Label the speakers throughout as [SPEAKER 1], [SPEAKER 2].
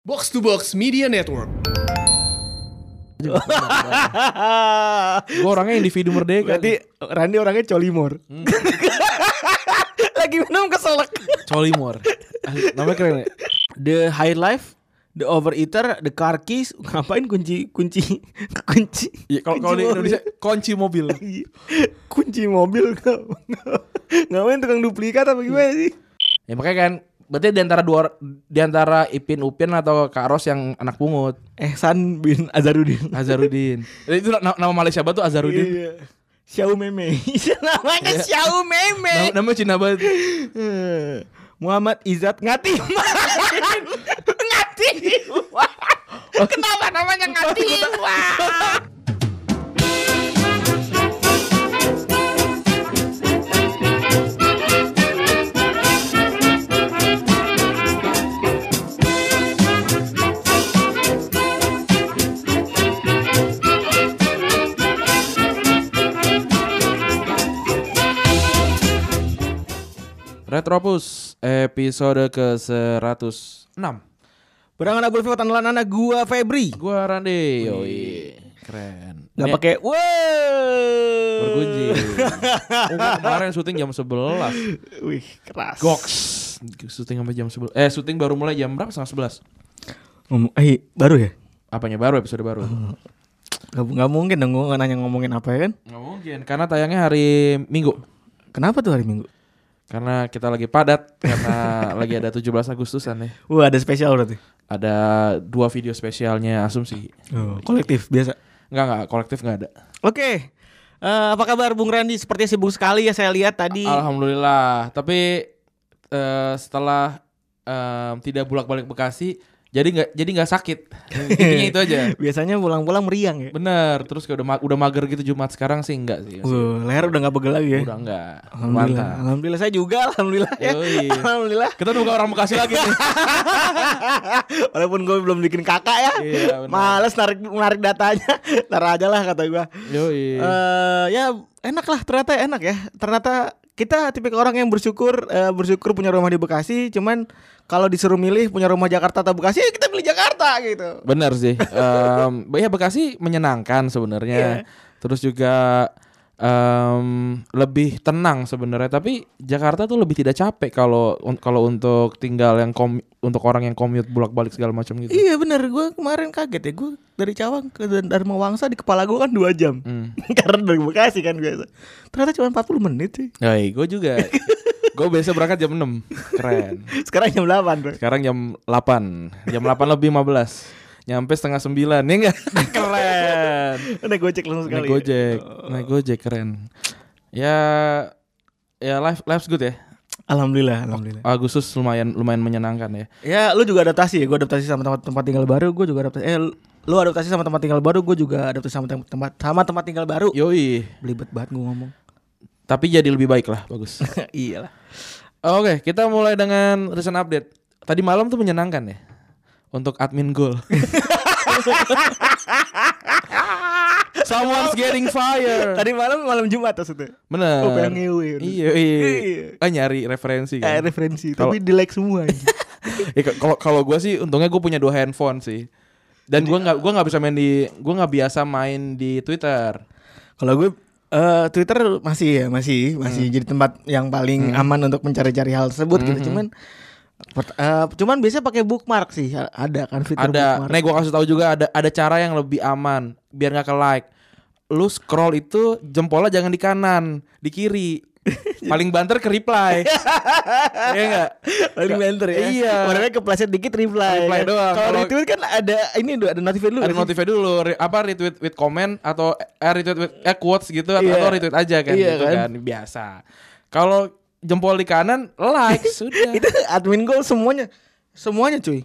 [SPEAKER 1] Box to Box Media Network.
[SPEAKER 2] Gue orangnya individu merdeka.
[SPEAKER 3] Berarti Randy orangnya colimor. Lagi minum keselak.
[SPEAKER 2] Colimor. Ah, Namanya keren ya.
[SPEAKER 3] The High Life, The Overeater, The Car Keys, ngapain kunci kunci kunci?
[SPEAKER 2] Iya, Kalau kalau di
[SPEAKER 3] kunci
[SPEAKER 2] Indonesia kunci mobil.
[SPEAKER 3] mobil. kunci mobil nggak nggak- ngapain tukang duplikat apa gimana sih?
[SPEAKER 2] Ya makanya kan berarti di antara dua di antara Ipin Upin atau Kak Ros yang anak pungut
[SPEAKER 3] Ehsan Eh, bin Azarudin.
[SPEAKER 2] Azarudin. itu na- nama Malaysia banget tuh Azarudin.
[SPEAKER 3] Iya. Xiao Meme. Iya, Namanya Xiao Meme.
[SPEAKER 2] Nama, namanya Cina banget.
[SPEAKER 3] Eh, Muhammad Izzat Ngatim. Ngatim. Kenapa namanya Ngatim?
[SPEAKER 2] Retropus episode ke 106.
[SPEAKER 3] Berangan abul Vivo tandalan anak gua Febri.
[SPEAKER 2] Gua Rande. Yoi. Keren.
[SPEAKER 3] Gak
[SPEAKER 2] Ini
[SPEAKER 3] pakai wow.
[SPEAKER 2] bergunjing. Oh, gua kemarin syuting jam 11.
[SPEAKER 3] Wih, keras.
[SPEAKER 2] Goks. Syuting sampai jam 11. Eh, syuting baru mulai jam berapa? Setengah 11.
[SPEAKER 3] Ngom- eh, baru ya?
[SPEAKER 2] Apanya baru episode baru?
[SPEAKER 3] Gak, gak mungkin dong gua nanya ngomongin apa ya kan?
[SPEAKER 2] Nggak Oh, mungkin karena tayangnya hari Minggu.
[SPEAKER 3] Kenapa tuh hari Minggu?
[SPEAKER 2] Karena kita lagi padat karena lagi ada 17 Agustusan nih.
[SPEAKER 3] Wah, ada spesial berarti.
[SPEAKER 2] Ada dua video spesialnya Asumsi.
[SPEAKER 3] Oh. kolektif biasa.
[SPEAKER 2] Enggak enggak kolektif enggak ada.
[SPEAKER 3] Oke. Eh, apa kabar Bung Randi? Sepertinya sibuk sekali ya saya lihat tadi.
[SPEAKER 2] Alhamdulillah. Tapi eh, setelah em, tidak bolak-balik Bekasi jadi nggak jadi nggak sakit. Intinya itu aja.
[SPEAKER 3] Biasanya pulang-pulang meriang ya.
[SPEAKER 2] Bener, terus kayak udah ma- udah mager gitu Jumat sekarang sih enggak sih.
[SPEAKER 3] Wah, leher udah gak pegel lagi ya.
[SPEAKER 2] Udah enggak.
[SPEAKER 3] Alhamdulillah.
[SPEAKER 2] Mantap.
[SPEAKER 3] Alhamdulillah saya juga alhamdulillah ya.
[SPEAKER 2] Yoi.
[SPEAKER 3] Alhamdulillah.
[SPEAKER 2] Kita bukan orang Bekasi lagi nih.
[SPEAKER 3] Walaupun gue belum bikin kakak ya.
[SPEAKER 2] Iya, benar.
[SPEAKER 3] Males narik narik datanya. Ntar aja lah kata gue.
[SPEAKER 2] Yoi.
[SPEAKER 3] Eh ya enak lah ternyata enak ya. Ternyata kita tipikal orang yang bersyukur eh, bersyukur punya rumah di Bekasi. Cuman kalau disuruh milih punya rumah Jakarta atau Bekasi, ya kita pilih Jakarta gitu.
[SPEAKER 2] Benar sih. Em, ya Bekasi menyenangkan sebenarnya. Terus juga em, lebih tenang sebenarnya. Tapi Jakarta tuh lebih tidak capek kalau un- kalau untuk tinggal yang kom- untuk orang yang commute bolak-balik segala macam gitu.
[SPEAKER 3] Iya bener gue kemarin kaget ya gue dari Cawang ke Dharma Wangsa di kepala gue kan dua jam
[SPEAKER 2] Hmm.
[SPEAKER 3] karena dari Bekasi kan biasa ternyata cuma 40 menit sih
[SPEAKER 2] gue juga. gue biasa berangkat jam 6 Keren.
[SPEAKER 3] sekarang jam 8 bro.
[SPEAKER 2] Sekarang jam 8 Jam 8 lebih 15 Nyampe setengah 9 Nih enggak? Keren
[SPEAKER 3] Naik gojek langsung sekali. ya.
[SPEAKER 2] Naik gojek Naik gojek keren Ya Ya life, life's good ya
[SPEAKER 3] Alhamdulillah, alhamdulillah.
[SPEAKER 2] Agustus lumayan lumayan menyenangkan ya.
[SPEAKER 3] Ya, lu juga adaptasi ya. Gue adaptasi sama tempat tempat tinggal baru. Gue juga adaptasi. Eh, lu adaptasi sama tempat tinggal baru. Gue juga adaptasi sama tem- tempat sama tempat tinggal baru.
[SPEAKER 2] Yoi.
[SPEAKER 3] Belibet banget gue ngomong.
[SPEAKER 2] Tapi jadi lebih baik lah, bagus. Oh,
[SPEAKER 3] Iyalah.
[SPEAKER 2] Oke, kita mulai dengan recent update. Tadi malam tuh menyenangkan ya. Untuk admin goal. Someone's getting fire.
[SPEAKER 3] Tadi malam malam Jumat maksudnya.
[SPEAKER 2] Bener.
[SPEAKER 3] Oh, pengen ngewe.
[SPEAKER 2] Iya, iya.
[SPEAKER 3] Iya.
[SPEAKER 2] Kan nyari referensi
[SPEAKER 3] Eh,
[SPEAKER 2] kan.
[SPEAKER 3] referensi.
[SPEAKER 2] Kalau-
[SPEAKER 3] Tapi di like semua. anjing.
[SPEAKER 2] Ya, k- kalau kalau gue sih untungnya gue punya dua handphone sih. Dan gue nggak gua nggak bisa main di gue nggak biasa main di Twitter.
[SPEAKER 3] Kalau gue eh, Twitter masih ya masih masih jadi tempat yang paling aman untuk mencari-cari hal tersebut gitu. Cuman pert- eh, cuman biasanya pakai bookmark sih A- ada kan fitur
[SPEAKER 2] ada
[SPEAKER 3] bookmark.
[SPEAKER 2] nih gue kasih tahu juga ada ada cara yang lebih aman biar nggak ke like lu scroll itu jempolnya jangan di kanan di kiri paling banter ke reply Iya nggak
[SPEAKER 3] Paling banter ya.
[SPEAKER 2] Iya.
[SPEAKER 3] Orangnya kepleset dikit reply.
[SPEAKER 2] Reply
[SPEAKER 3] kan.
[SPEAKER 2] doang.
[SPEAKER 3] Kalau
[SPEAKER 2] Kalau-
[SPEAKER 3] retweet kan ada ini dulu ada notifin dulu.
[SPEAKER 2] ada notifnya dulu re- apa retweet with comment atau eh, retweet with eh, quotes gitu atau,
[SPEAKER 3] Iya.
[SPEAKER 2] atau retweet aja kan
[SPEAKER 3] Iya
[SPEAKER 2] gitu
[SPEAKER 3] kan.
[SPEAKER 2] kan biasa kalau jempol di kanan like sudah
[SPEAKER 3] Itu admin goal semuanya. Semuanya cuy.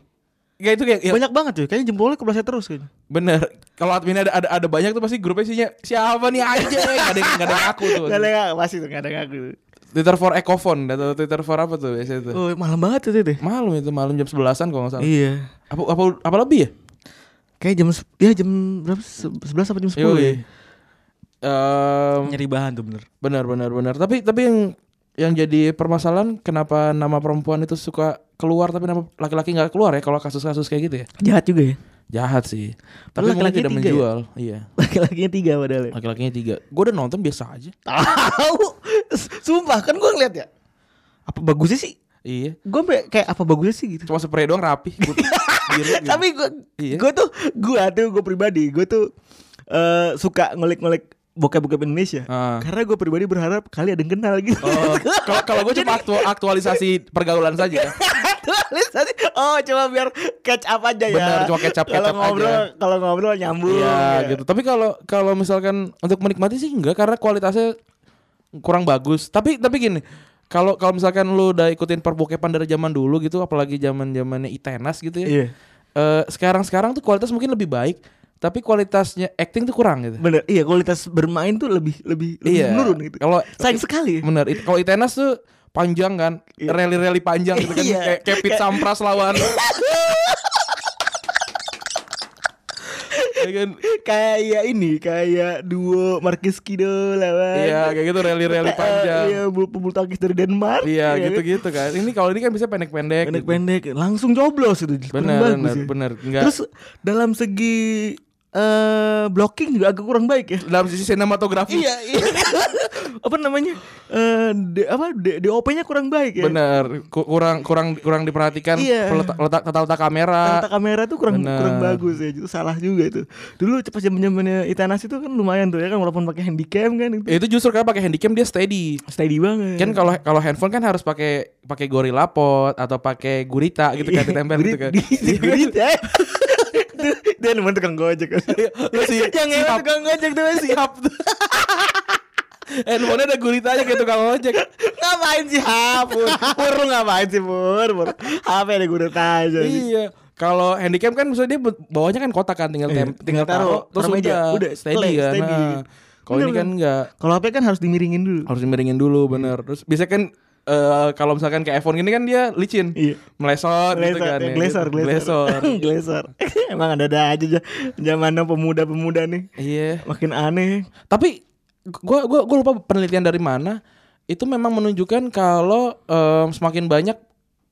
[SPEAKER 2] ya itu kayak ya,
[SPEAKER 3] Banyak banget cuy. Kayaknya jempolnya kepleset terus kayaknya.
[SPEAKER 2] bener kalau admin ada, ada ada banyak tuh pasti grupnya isinya siapa nih aja nggak ada yang- nggak ada yang aku tuh
[SPEAKER 3] Gak ada yang pasti tuh gak ada yang aku.
[SPEAKER 2] Twitter for ecophone atau Twitter for apa tuh biasanya tuh
[SPEAKER 3] Oh, malam banget itu deh.
[SPEAKER 2] Malam itu malam jam sebelasan kalau nggak salah.
[SPEAKER 3] Iya.
[SPEAKER 2] Apa apa apa lebih ya?
[SPEAKER 3] Kayak jam sep- ya jam berapa? Se- 11 apa jam ya? 10
[SPEAKER 2] Yoi.
[SPEAKER 3] ya?
[SPEAKER 2] Em,
[SPEAKER 3] Nyeri bahan tuh bener.
[SPEAKER 2] benar benar benar. Tapi tapi yang yang jadi permasalahan kenapa nama perempuan itu suka keluar tapi nama laki-laki nggak keluar ya kalau kasus-kasus kayak gitu ya
[SPEAKER 3] Jahat juga ya.
[SPEAKER 2] jahat sih
[SPEAKER 3] Padahal
[SPEAKER 2] tapi mungkin
[SPEAKER 3] laki-lakinya
[SPEAKER 2] tidak
[SPEAKER 3] tiga ya?
[SPEAKER 2] menjual iya
[SPEAKER 3] Laki-lakinya tiga padahal. ya.
[SPEAKER 2] laki-lakinya tiga gue udah nonton biasa aja
[SPEAKER 3] Tahu. Sumpah kan gue ngeliat ya. Apa bagusnya sih?
[SPEAKER 2] iya
[SPEAKER 3] Gue kayak apa bagusnya sih gitu.
[SPEAKER 2] cuma spray doang rapi putih, biru gitu.
[SPEAKER 3] Tapi gue
[SPEAKER 2] Iya.
[SPEAKER 3] gue tuh gue tuh gue pribadi gue tuh eh, suka ngulik-ngulik bokep-bokep Indonesia.
[SPEAKER 2] Ah.
[SPEAKER 3] Karena gue pribadi berharap kali ada yang kenal gitu.
[SPEAKER 2] Oh, kalau kalau gue cuma aktu- aktualisasi pergaulan saja
[SPEAKER 3] Aktualisasi. oh cuma biar catch up aja ya.
[SPEAKER 2] Benar, cuma catch up, catch
[SPEAKER 3] Kalau
[SPEAKER 2] up
[SPEAKER 3] ngobrol kalau ngobrol nyambung. ya.
[SPEAKER 2] Iya gitu. Tapi kalau kalau misalkan untuk menikmati sih enggak karena kualitasnya kurang bagus. Tapi tapi gini, kalau kalau misalkan lu udah ikutin perbokepan dari zaman dulu gitu, apalagi zaman-zamannya Itenas gitu ya.
[SPEAKER 3] Iya.
[SPEAKER 2] Eh, sekarang-sekarang tuh kualitas mungkin lebih baik, tapi kualitasnya acting tuh kurang gitu.
[SPEAKER 3] Bener, iya kualitas bermain tuh lebih lebih lebih
[SPEAKER 2] Iya.
[SPEAKER 3] menurun gitu.
[SPEAKER 2] Kalau
[SPEAKER 3] Sayang sekali. ya.
[SPEAKER 2] bener It- kalau Itenas tuh panjang kan,
[SPEAKER 3] Iya.
[SPEAKER 2] rally-rally panjang gitu kan
[SPEAKER 3] Iya.
[SPEAKER 2] kayak kayak Pit Sampras lawan Ya kan?
[SPEAKER 3] kayak ini, kayak duo Marquez Kido lawan.
[SPEAKER 2] Iya, kayak gitu rally-rally
[SPEAKER 3] Eh,
[SPEAKER 2] panjang.
[SPEAKER 3] Iya, bulu pebulu tangkis dari Denmark.
[SPEAKER 2] Iya
[SPEAKER 3] kan?
[SPEAKER 2] gitu-gitu kan. Ini kalau ini kan bisa pendek-pendek. gitu.
[SPEAKER 3] Pendek-pendek, langsung gitu. joblos itu.
[SPEAKER 2] Bener,
[SPEAKER 3] Kurang
[SPEAKER 2] bener,
[SPEAKER 3] ya.
[SPEAKER 2] bener. Enggak.
[SPEAKER 3] Terus dalam segi eh blocking juga agak kurang baik ya.
[SPEAKER 2] Dalam sisi sinematografi.
[SPEAKER 3] iya, iya. apa namanya? Eh D- apa D- DOP-nya kurang baik ya.
[SPEAKER 2] Bener. Ku- Kurang kurang kurang diperhatikan
[SPEAKER 3] Iya.
[SPEAKER 2] peleta- letak tata letak kamera.
[SPEAKER 3] Tata kamera tuh kurang
[SPEAKER 2] Bener.
[SPEAKER 3] kurang bagus ya. Itu salah juga itu. Dulu pas zaman-zamannya Itanas itu kan lumayan tuh ya kan walaupun pakai handycam kan itu
[SPEAKER 2] Itu justru karena pakai handycam dia steady.
[SPEAKER 3] steady banget.
[SPEAKER 2] Iya. Kan kalau kalau handphone kan harus pakai pakai gorilla pot atau pakai gurita gitu
[SPEAKER 3] Iya,
[SPEAKER 2] kan ditempel gitu kan.
[SPEAKER 3] Gurit ya. Itu- Dia teman tukang gojek.
[SPEAKER 2] Iya, Lu si
[SPEAKER 3] Yang
[SPEAKER 2] si
[SPEAKER 3] ngewe
[SPEAKER 2] hap-
[SPEAKER 3] tukang gojek tuh si Hap.
[SPEAKER 2] handphonenya ada guritanya kayak tukang ojek.
[SPEAKER 3] Ngapain sih Hap? Ah, Pur, Pur, lu ngapain sih Pur? Pur. Apa yang digurit aja sih?
[SPEAKER 2] Iya. Kalau handicap kan maksudnya dia bawahnya kan kotak kan tinggal tem-
[SPEAKER 3] Iya, tinggal
[SPEAKER 2] tinggal
[SPEAKER 3] taruh,
[SPEAKER 2] taruh terus
[SPEAKER 3] taruh meja.
[SPEAKER 2] udah,
[SPEAKER 3] Udah,
[SPEAKER 2] steady
[SPEAKER 3] play,
[SPEAKER 2] kan.
[SPEAKER 3] steady.
[SPEAKER 2] Nah, Kalau ini
[SPEAKER 3] Bener,
[SPEAKER 2] kan enggak
[SPEAKER 3] Kalau HP kan harus dimiringin dulu.
[SPEAKER 2] harus miringin dulu bener. Terus biasanya kan eh, kalau misalkan kayak iPhone gini kan dia licin.
[SPEAKER 3] Iya.
[SPEAKER 2] Melesot gitu
[SPEAKER 3] Glesor,
[SPEAKER 2] kan.
[SPEAKER 3] eh,
[SPEAKER 2] ya,
[SPEAKER 3] glesor,
[SPEAKER 2] gitu.
[SPEAKER 3] glesor,
[SPEAKER 2] Glesor.
[SPEAKER 3] glesor. Emang ada-ada aja ja- zamannya pemuda-pemuda nih,
[SPEAKER 2] Iya.
[SPEAKER 3] makin aneh.
[SPEAKER 2] Tapi gua gua gua lupa penelitian dari mana itu memang menunjukkan kalau em, semakin banyak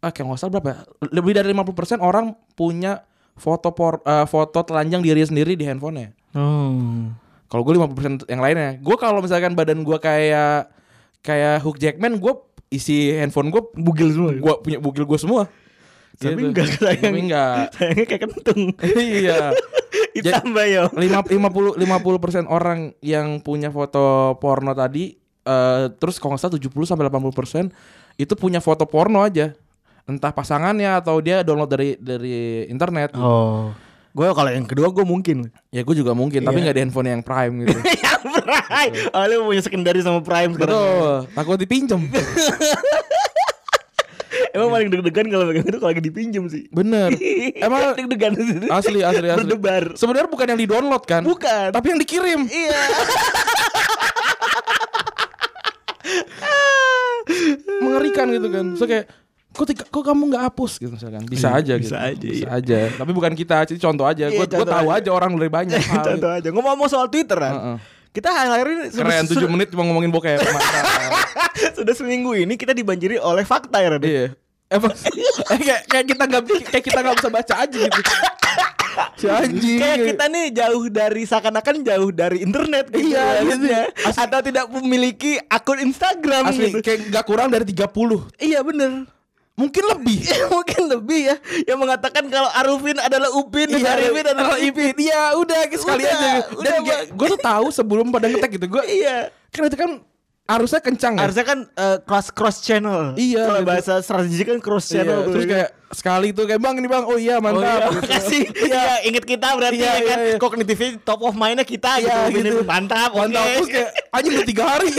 [SPEAKER 2] ah, kayak nggak salah berapa ya, lebih dari 50% orang punya foto por, eh, foto telanjang diri sendiri di handphonenya.
[SPEAKER 3] Oh,
[SPEAKER 2] Kalau gue 50% yang lainnya. Gue kalau misalkan badan gue kayak kayak Hugh Jackman, gue isi handphone gue
[SPEAKER 3] bugil semua. ya?
[SPEAKER 2] gua punya bugil gue semua.
[SPEAKER 3] Tapi
[SPEAKER 2] Gitu.
[SPEAKER 3] enggak sayang.
[SPEAKER 2] Tapi enggak.
[SPEAKER 3] Sayangnya kayak kentung.
[SPEAKER 2] iya.
[SPEAKER 3] Hitam bayo.
[SPEAKER 2] Lima- 50 50% orang yang punya foto porno tadi eh, terus kalau nggak salah 70 sampai 80% itu punya foto porno aja. Entah pasangannya atau dia download dari dari internet.
[SPEAKER 3] Oh. Gue kalau yang kedua gue mungkin.
[SPEAKER 2] Ya gue juga
[SPEAKER 3] Iya.
[SPEAKER 2] mungkin, tapi nggak di handphone yang prime gitu.
[SPEAKER 3] yang Prime. Oh, lu punya secondary sama Prime sekarang.
[SPEAKER 2] Betul. Takut dipinjem.
[SPEAKER 3] Emang paling deg-degan kalau pegang itu kalau lagi dipinjam sih.
[SPEAKER 2] Bener. Emang
[SPEAKER 3] deg-degan
[SPEAKER 2] Asli asli asli.
[SPEAKER 3] Berdebar.
[SPEAKER 2] Sebenarnya bukan yang di download kan?
[SPEAKER 3] Bukan.
[SPEAKER 2] Tapi yang dikirim.
[SPEAKER 3] Iya.
[SPEAKER 2] Mengerikan gitu kan. So kayak kok tiga- kok kamu nggak hapus gitu misalkan. Bisa
[SPEAKER 3] Iya,
[SPEAKER 2] aja
[SPEAKER 3] bisa
[SPEAKER 2] gitu.
[SPEAKER 3] aja,
[SPEAKER 2] Bisa
[SPEAKER 3] iya.
[SPEAKER 2] aja. Tapi bukan kita, jadi contoh aja.
[SPEAKER 3] Iya,
[SPEAKER 2] Gue gue
[SPEAKER 3] contoh
[SPEAKER 2] tahu
[SPEAKER 3] aja.
[SPEAKER 2] aja orang lebih banyak. Ah,
[SPEAKER 3] Contoh aja. Ngomong-ngomong soal Twitter kan.
[SPEAKER 2] Heeh.
[SPEAKER 3] Kita akhir-akhir ini sudah-
[SPEAKER 2] Keren 7 menit cuma ngomongin bokep. Mantap.
[SPEAKER 3] sudah seminggu ini kita dibanjiri oleh fakta ya Raden.
[SPEAKER 2] Iya. Emang eh, kayak, kayak kita nggak kayak kita nggak bisa baca aja gitu. Si anjing.
[SPEAKER 3] Kayak kita nih jauh dari seakan-akan jauh dari internet gitu.
[SPEAKER 2] Iya, gitu.
[SPEAKER 3] ya. Atau tidak memiliki akun Instagram
[SPEAKER 2] asli
[SPEAKER 3] gitu.
[SPEAKER 2] kayak nggak kurang dari 30.
[SPEAKER 3] Iya bener
[SPEAKER 2] Mungkin lebih.
[SPEAKER 3] Mungkin lebih ya Yang mengatakan kalau Arufin adalah Upin Dan
[SPEAKER 2] Iya,
[SPEAKER 3] Arifin adalah Ipin
[SPEAKER 2] Ipin. Iya, udah sekali
[SPEAKER 3] Udah,
[SPEAKER 2] aja. gitu. Dan
[SPEAKER 3] udah, Bang.
[SPEAKER 2] gue tuh tahu sebelum pada ngetek gitu. Gue
[SPEAKER 3] Iya
[SPEAKER 2] kan itu kan arusnya kencang ya.
[SPEAKER 3] Harusnya kan eh, cross cross channel.
[SPEAKER 2] Iya,
[SPEAKER 3] Kalau
[SPEAKER 2] gitu.
[SPEAKER 3] bahasa strategi kan cross
[SPEAKER 2] Iya,
[SPEAKER 3] channel. tuh.
[SPEAKER 2] terus kayak sekali tuh kayak bang ini bang oh
[SPEAKER 3] Oh, iya,
[SPEAKER 2] iya mantap
[SPEAKER 3] makasih. Iya, inget kita berarti
[SPEAKER 2] Iya,
[SPEAKER 3] ya kan.
[SPEAKER 2] iya, iya.
[SPEAKER 3] Kognitifnya top of mind-nya kita
[SPEAKER 2] Iya,
[SPEAKER 3] gitu. Bener,
[SPEAKER 2] gitu.
[SPEAKER 3] Mantap,
[SPEAKER 2] mantap terus
[SPEAKER 3] oke.
[SPEAKER 2] kayak anjing udah tiga hari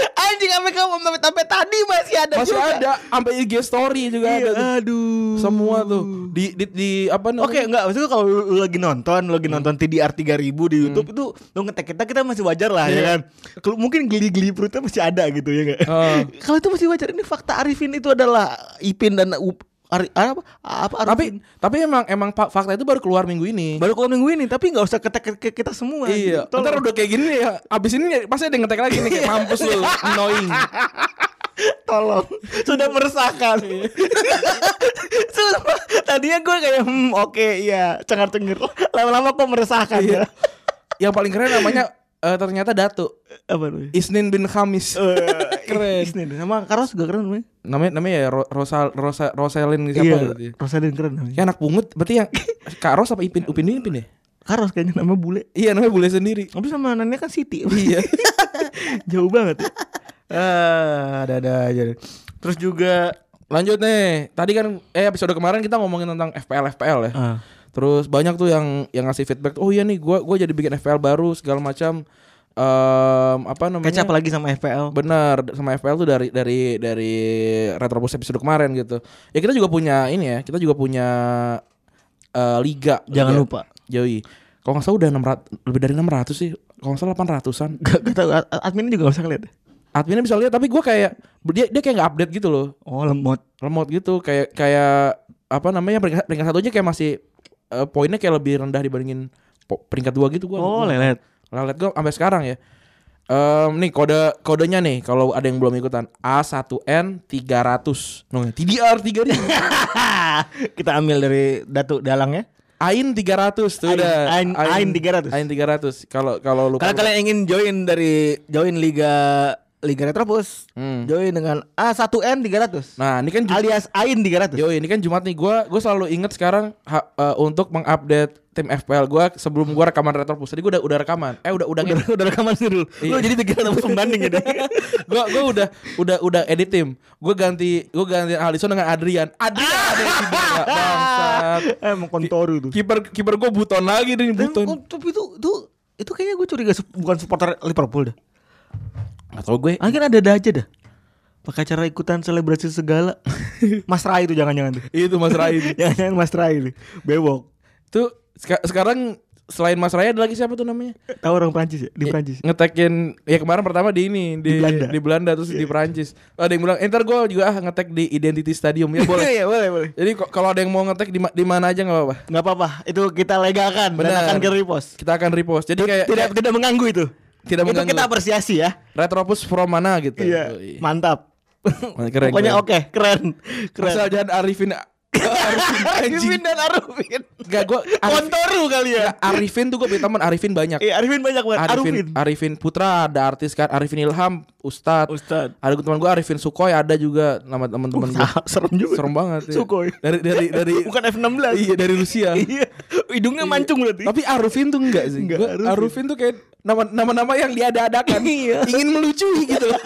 [SPEAKER 3] Anjing sampai kamu sampai sampai tadi masih ada
[SPEAKER 2] masih
[SPEAKER 3] juga.
[SPEAKER 2] ada sampai IG story juga
[SPEAKER 3] Iya,
[SPEAKER 2] ada tuh.
[SPEAKER 3] aduh.
[SPEAKER 2] semua tuh di di, di apa namanya
[SPEAKER 3] Hmm. Oke, Hmm. enggak maksudnya kalau lu, lu lagi nonton, lu lagi nonton TDR 3000 di YouTube itu lu ngetek kita kita masih wajar lah ya
[SPEAKER 2] Iya.
[SPEAKER 3] kan. Kalau mungkin geli-geli perutnya masih ada gitu ya enggak.
[SPEAKER 2] Heeh.
[SPEAKER 3] kalau itu masih wajar ini fakta Arifin itu adalah Ipin dan Up- Ari- apa apa Arifin.
[SPEAKER 2] Tapi tapi emang emang fa- fakta itu baru keluar minggu ini.
[SPEAKER 3] baru keluar minggu ini tapi nggak usah ketek ke ke kita semua
[SPEAKER 2] Iya,
[SPEAKER 3] Tolong.
[SPEAKER 2] ntar udah kayak gini ya. Abis ini pasti ada yang ngetek lagi nih kayak mampus lu, annoying.
[SPEAKER 3] tolong sudah meresahkan Sumpah, tadinya gue kayak hmm oke iya cengar cengir lama-lama kok meresahkan ya
[SPEAKER 2] Yang paling keren namanya eh, ternyata Datu
[SPEAKER 3] apa namanya
[SPEAKER 2] Isnin bin Khamis.
[SPEAKER 3] Eh. keren Isnin sama Carlos juga keren namanya
[SPEAKER 2] namanya namanya ya Ro- Rosa Rosa Roselin siapa
[SPEAKER 3] Iya.
[SPEAKER 2] gitu ya.
[SPEAKER 3] Rosalin keren namanya
[SPEAKER 2] Kayak anak pungut berarti yang Kak Ros apa Ipin Upin Ipin ya?
[SPEAKER 3] Carlos kayaknya nama bule
[SPEAKER 2] Iya namanya boleh sendiri.
[SPEAKER 3] tapi sama anaknya kan Siti iya jauh banget ya. Ah, ada ada aja deh. terus juga
[SPEAKER 2] Lanjut nih. Tadi kan eh episode kemarin kita ngomongin tentang FPL FPL ya.
[SPEAKER 3] Ah.
[SPEAKER 2] Terus banyak tuh yang yang ngasih feedback, "Oh iya nih gua gua jadi bikin FPL baru segala macam." Em, apa namanya?
[SPEAKER 3] kecap lagi sama FPL
[SPEAKER 2] Bener sama FPL tuh dari dari dari Retrobus episode kemarin gitu. Ya kita juga punya ini ya, kita juga punya eh, liga.
[SPEAKER 3] Jangan
[SPEAKER 2] Liga
[SPEAKER 3] lupa.
[SPEAKER 2] Joey. Kalau nggak salah udah 600 lebih dari 600 sih. Kalau nggak salah 800-an.
[SPEAKER 3] gak, gak tau ad- adminnya juga gak bisa ngeliat
[SPEAKER 2] Adminnya bisa lihat tapi gua kayak dia dia kayak nggak update gitu loh.
[SPEAKER 3] oh lemot
[SPEAKER 2] Remote gitu kayak kayak apa namanya peringkat, peringkat satu aja kayak masih eh, poinnya kayak lebih rendah dibandingin po- peringkat dua gitu gua.
[SPEAKER 3] oh lelet
[SPEAKER 2] Lelet gue sampai sekarang ya. Em, nih kode kodenya nih kalau ada yang belum ikutan A1N 300. Nongnya TDR 3000.
[SPEAKER 3] kita ambil dari Datu Dalang ya.
[SPEAKER 2] AIN 300 tuh
[SPEAKER 3] Ain-
[SPEAKER 2] udah.
[SPEAKER 3] Ain- Ain 300.
[SPEAKER 2] AIN 300. Kalau kalau lu
[SPEAKER 3] Kalau kalian ingin join dari join liga Liga Retropus,
[SPEAKER 2] Hmm.
[SPEAKER 3] join dengan A1N 300.
[SPEAKER 2] Nah, ini kan Ju-
[SPEAKER 3] alias Ain 300.
[SPEAKER 2] Yo, ini kan Jumat nih. Gua gua selalu inget sekarang ha- eh, untuk mengupdate tim FPL gua sebelum gua rekaman Retropus. Tadi gua udah udah rekaman. Eh, udah udah
[SPEAKER 3] Udah, udah rekaman sih dulu. Lu
[SPEAKER 2] Iya.
[SPEAKER 3] jadi 300 pembanding gitu.
[SPEAKER 2] gua gua udah udah udah edit tim. Gua ganti gua ganti Alisson dengan Adrian. Adrian
[SPEAKER 3] Ah!
[SPEAKER 2] ada yang tidak ya, bangsat.
[SPEAKER 3] Emang kontoru itu.
[SPEAKER 2] Kiper kiper gua buton lagi nih
[SPEAKER 3] Dan,
[SPEAKER 2] buton.
[SPEAKER 3] oh, tapi itu itu itu kayaknya gue curiga sup- bukan supporter Liverpool dah.
[SPEAKER 2] Atau gue
[SPEAKER 3] Akhirnya ada-ada aja dah. Pakai acara ikutan selebrasi segala. Mas Rai itu jangan-jangan tuh.
[SPEAKER 2] itu Mas Rai. itu.
[SPEAKER 3] Jangan-jangan Mas Rai itu. Bewok.
[SPEAKER 2] Tuh seka- sekarang selain Mas Rai ada lagi siapa tuh namanya?
[SPEAKER 3] Tahu orang Prancis ya? Di
[SPEAKER 2] Iya.
[SPEAKER 3] Prancis.
[SPEAKER 2] Ngetekin ya kemarin pertama di ini di,
[SPEAKER 3] Di Belanda.
[SPEAKER 2] terus di Perancis. Oh, Ada yang bilang, "Entar gua juga ah ngetek di Identity Stadium." Ya boleh.
[SPEAKER 3] Iya, boleh, boleh.
[SPEAKER 2] Jadi ko- kalau ada yang mau ngetek di, ma- di mana aja nggak apa-apa.
[SPEAKER 3] nggak apa-apa itu kita legalkan dan
[SPEAKER 2] Benar.
[SPEAKER 3] akan kita repost
[SPEAKER 2] Kita akan repost. Jadi kayak
[SPEAKER 3] tidak tidak mengganggu itu
[SPEAKER 2] Tidak
[SPEAKER 3] itu
[SPEAKER 2] mengganggu.
[SPEAKER 3] kita apresiasi ya Iya.
[SPEAKER 2] retropus from mana gitu. Yoi.
[SPEAKER 3] mantap
[SPEAKER 2] Keren,
[SPEAKER 3] pokoknya
[SPEAKER 2] keren.
[SPEAKER 3] oke keren keren
[SPEAKER 2] Asal jangan Arifin. Arifin
[SPEAKER 3] Arifin
[SPEAKER 2] anjing.
[SPEAKER 3] dan Arufin
[SPEAKER 2] Enggak gua Arifin,
[SPEAKER 3] kontoru kali ya
[SPEAKER 2] Arifin tuh gue punya teman Arifin banyak.
[SPEAKER 3] Iya, Arifin Ah, banyak banget
[SPEAKER 2] Arifin,
[SPEAKER 3] Arufin
[SPEAKER 2] Arifin Putra ada artis kan, Arifin Ilham, Ustadz.
[SPEAKER 3] Ustad
[SPEAKER 2] Ada teman gue Arifin Sukoy ada juga nama teman-teman gue.
[SPEAKER 3] serem iya. juga
[SPEAKER 2] Serem banget. ya.
[SPEAKER 3] Sukoy.
[SPEAKER 2] Dari dari dari
[SPEAKER 3] bukan F16
[SPEAKER 2] iya dari Rusia.
[SPEAKER 3] iya hidungnya mancung berarti
[SPEAKER 2] Tapi Arufin tuh enggak sih.
[SPEAKER 3] Enggak,
[SPEAKER 2] Gua-
[SPEAKER 3] Arufin.
[SPEAKER 2] Arufin. tuh kayak nama nama-nama yang diada-adakan.
[SPEAKER 3] Iya.
[SPEAKER 2] Ingin melucu gitu.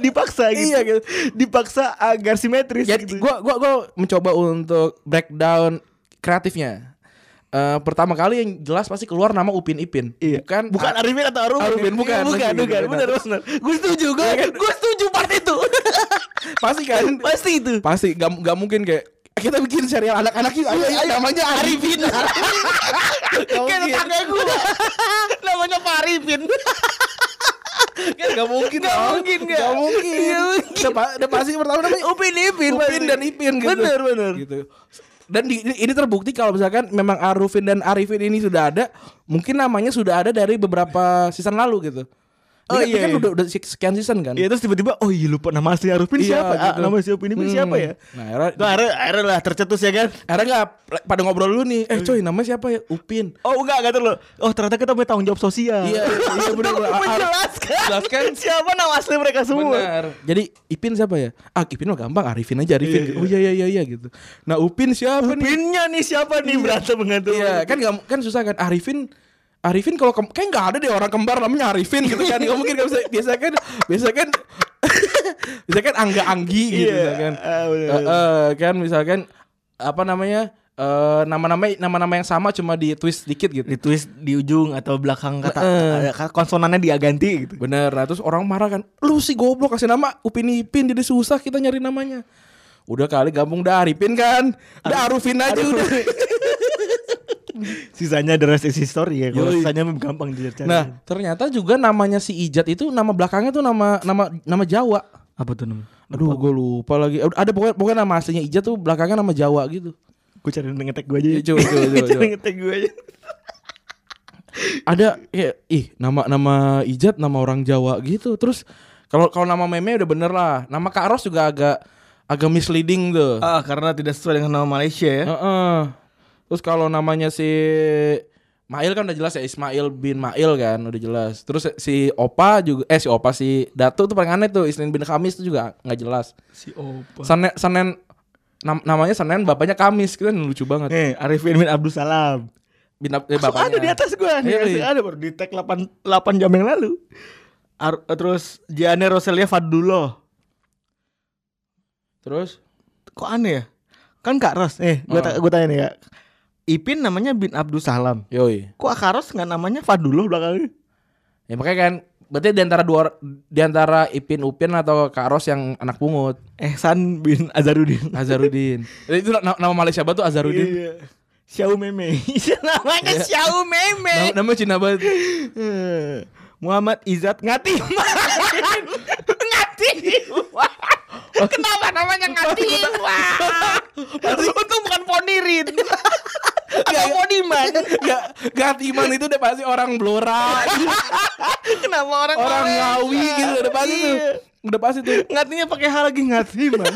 [SPEAKER 3] dipaksa gitu
[SPEAKER 2] Iya, gitu.
[SPEAKER 3] dipaksa agar simetris
[SPEAKER 2] ya
[SPEAKER 3] gitu
[SPEAKER 2] gua gua gua mencoba untuk breakdown kreatifnya. Eh pertama kali yang jelas pasti keluar nama Upin Ipin.
[SPEAKER 3] Iya.
[SPEAKER 2] Bukan
[SPEAKER 3] bukan Arifin atau Arufin.
[SPEAKER 2] Arufin, bukan.
[SPEAKER 3] Iya, bukan,
[SPEAKER 2] Lagi,
[SPEAKER 3] bukan.
[SPEAKER 2] gitu.
[SPEAKER 3] Benar, benar. Gue setuju, gue, gue setuju part itu.
[SPEAKER 2] Iya kan? pasti kan.
[SPEAKER 3] Pasti itu.
[SPEAKER 2] pasti gak, gak mungkin kayak kita bikin serial anak-anak yuk
[SPEAKER 3] Iya,
[SPEAKER 2] ayo, ayo, namanya Arifin. Gak
[SPEAKER 3] Kayak
[SPEAKER 2] mungkin.
[SPEAKER 3] tetangga gue. Namanya Pak Arifin.
[SPEAKER 2] Kan gak mungkin.
[SPEAKER 3] Nggak
[SPEAKER 2] dong.
[SPEAKER 3] mungkin, nggak.
[SPEAKER 2] Nggak mungkin.
[SPEAKER 3] Nggak Iya, mungkin.
[SPEAKER 2] Udah pa- udah pasti pertama namanya
[SPEAKER 3] Upin Ipin.
[SPEAKER 2] Upin
[SPEAKER 3] pasti.
[SPEAKER 2] dan Ipin gitu.
[SPEAKER 3] Benar, benar.
[SPEAKER 2] Gitu. Dan di- ini ini terbukti kalau misalkan memang Arufin dan Arifin ini sudah ada, mungkin namanya sudah ada dari beberapa season lalu gitu. Ini
[SPEAKER 3] Oh,
[SPEAKER 2] kan- ini
[SPEAKER 3] iya,
[SPEAKER 2] kan
[SPEAKER 3] iya.
[SPEAKER 2] udah, udah sekian season kan.
[SPEAKER 3] Ya terus tiba-tiba oh iya lupa nama asli Arifin
[SPEAKER 2] Iya,
[SPEAKER 3] siapa? Ah,
[SPEAKER 2] gitu.
[SPEAKER 3] Nama si Upin Ipin
[SPEAKER 2] Hmm.
[SPEAKER 3] siapa ya?
[SPEAKER 2] Nah, era-
[SPEAKER 3] Tuh akhirnya, akhirnya lah tercetus ya kan.
[SPEAKER 2] Era nggak pada ngobrol dulu nih.
[SPEAKER 3] Iya.
[SPEAKER 2] Eh coy, namanya siapa ya? Upin.
[SPEAKER 3] Oh enggak, enggak terlalu. Oh ternyata kita punya tanggung jawab sosial.
[SPEAKER 2] Iya, iya, iya, benar, benar.
[SPEAKER 3] Menjelaskan.
[SPEAKER 2] Jelaskan.
[SPEAKER 3] Siapa nama asli mereka semua?
[SPEAKER 2] Benar. kan? Jadi Ipin siapa ya? Ah, Ipin mah gampang, Arifin aja Arifin.
[SPEAKER 3] Iya,
[SPEAKER 2] Oh iya iya iya iya gitu. Nah, Upin siapa nih?
[SPEAKER 3] Upinnya nih siapa nih berantem berantem?
[SPEAKER 2] Iya kan nggak kan susah kan Arifin Arifin kalau kem- kayak nggak ada deh orang kembar namanya Arifin gitu kan nggak mungkin nggak bisa biasa kan biasa kan biasa kan Angga Anggi gitu
[SPEAKER 3] Iya,
[SPEAKER 2] kan
[SPEAKER 3] ah, bener,
[SPEAKER 2] Eh, eh, kan misalkan apa namanya eh, nama-nama nama-nama yang sama cuma di twist dikit gitu
[SPEAKER 3] ditulis di ujung atau belakang kata ada- konsonannya diganti gitu.
[SPEAKER 2] bener nah terus orang marah kan lu sih goblok kasih nama Upin Ipin jadi susah kita nyari namanya udah kali gabung dah Arifin kan udah Arufin aja udah
[SPEAKER 3] Sisanya the rest is history ya. Kalau
[SPEAKER 2] Yoi.
[SPEAKER 3] sisanya memang gampang dicari.
[SPEAKER 2] Nah, ternyata juga namanya si Ijat itu nama belakangnya tuh nama nama nama Jawa.
[SPEAKER 3] Apa tuh namanya?
[SPEAKER 2] Aduh, gue lupa lagi. Aduh, Ada pokoknya, pokoknya nama aslinya Ija tuh belakangnya nama Jawa gitu.
[SPEAKER 3] Gue cari ngetek gue aja.
[SPEAKER 2] Iya, coba, coba,
[SPEAKER 3] Gua
[SPEAKER 2] coba,
[SPEAKER 3] cari
[SPEAKER 2] coba.
[SPEAKER 3] ngetek gue aja.
[SPEAKER 2] Ada kayak ih nama nama Ijat nama orang Jawa gitu. Terus kalau kalau nama meme udah bener lah. Nama Kak Ros juga agak agak misleading tuh.
[SPEAKER 3] Ah, karena tidak sesuai dengan nama Malaysia ya.
[SPEAKER 2] Heeh. Terus kalau namanya si Mail kan udah jelas ya Ismail bin Mail kan udah jelas. Terus si Opa juga eh si Opa si Datu tuh paling aneh tuh Isnin bin Kamis tuh juga nggak jelas.
[SPEAKER 3] Si Opa.
[SPEAKER 2] Senen Senen nam- namanya Senen bapaknya Kamis kan lucu banget.
[SPEAKER 3] Nih, Arifin bin Abdul Salam.
[SPEAKER 2] Bin, eh,
[SPEAKER 3] Langsung
[SPEAKER 2] bapaknya.
[SPEAKER 3] ada di atas gue nih.
[SPEAKER 2] Iya,
[SPEAKER 3] langsung
[SPEAKER 2] iya.
[SPEAKER 3] ada baru di tag 8, 8 jam yang lalu. Ar- terus Jane Roselia Fadullah.
[SPEAKER 2] Terus
[SPEAKER 3] Kok aneh ya? Kan Kak Ros. Eh, gue
[SPEAKER 2] Heeh.
[SPEAKER 3] tanya nih ya. Ipin namanya bin Abdul Salam.
[SPEAKER 2] yoi.
[SPEAKER 3] Kok Kak Ros nggak namanya Fadullah belakangnya?
[SPEAKER 2] Ya makanya kan berarti di antara dua di antara Ipin Upin atau Kak Ros yang anak pungut
[SPEAKER 3] Ehsan Eh, bin Azharuddin.
[SPEAKER 2] Azharudin. itu na- nama Malaysia banget tuh Azharudin.
[SPEAKER 3] Iya. Xiao Meme. namanya
[SPEAKER 2] Iya.
[SPEAKER 3] Xiao Meme.
[SPEAKER 2] Nama, nama Cina banget.
[SPEAKER 3] Eh, Muhammad Izzat Ngatim. Ngatiman. Kenapa namanya Ngatiman? Itu bukan Ponirin. Atau Poniman.
[SPEAKER 2] Gak, Gatiman itu udah pasti orang Blora,
[SPEAKER 3] Kenapa orang
[SPEAKER 2] orang
[SPEAKER 3] Malaysia?
[SPEAKER 2] Ngawi gitu udah pasti tuh.
[SPEAKER 3] Iya.
[SPEAKER 2] Udah pasti tuh.
[SPEAKER 3] Ngatinya pakai hal lagi Ngatiman.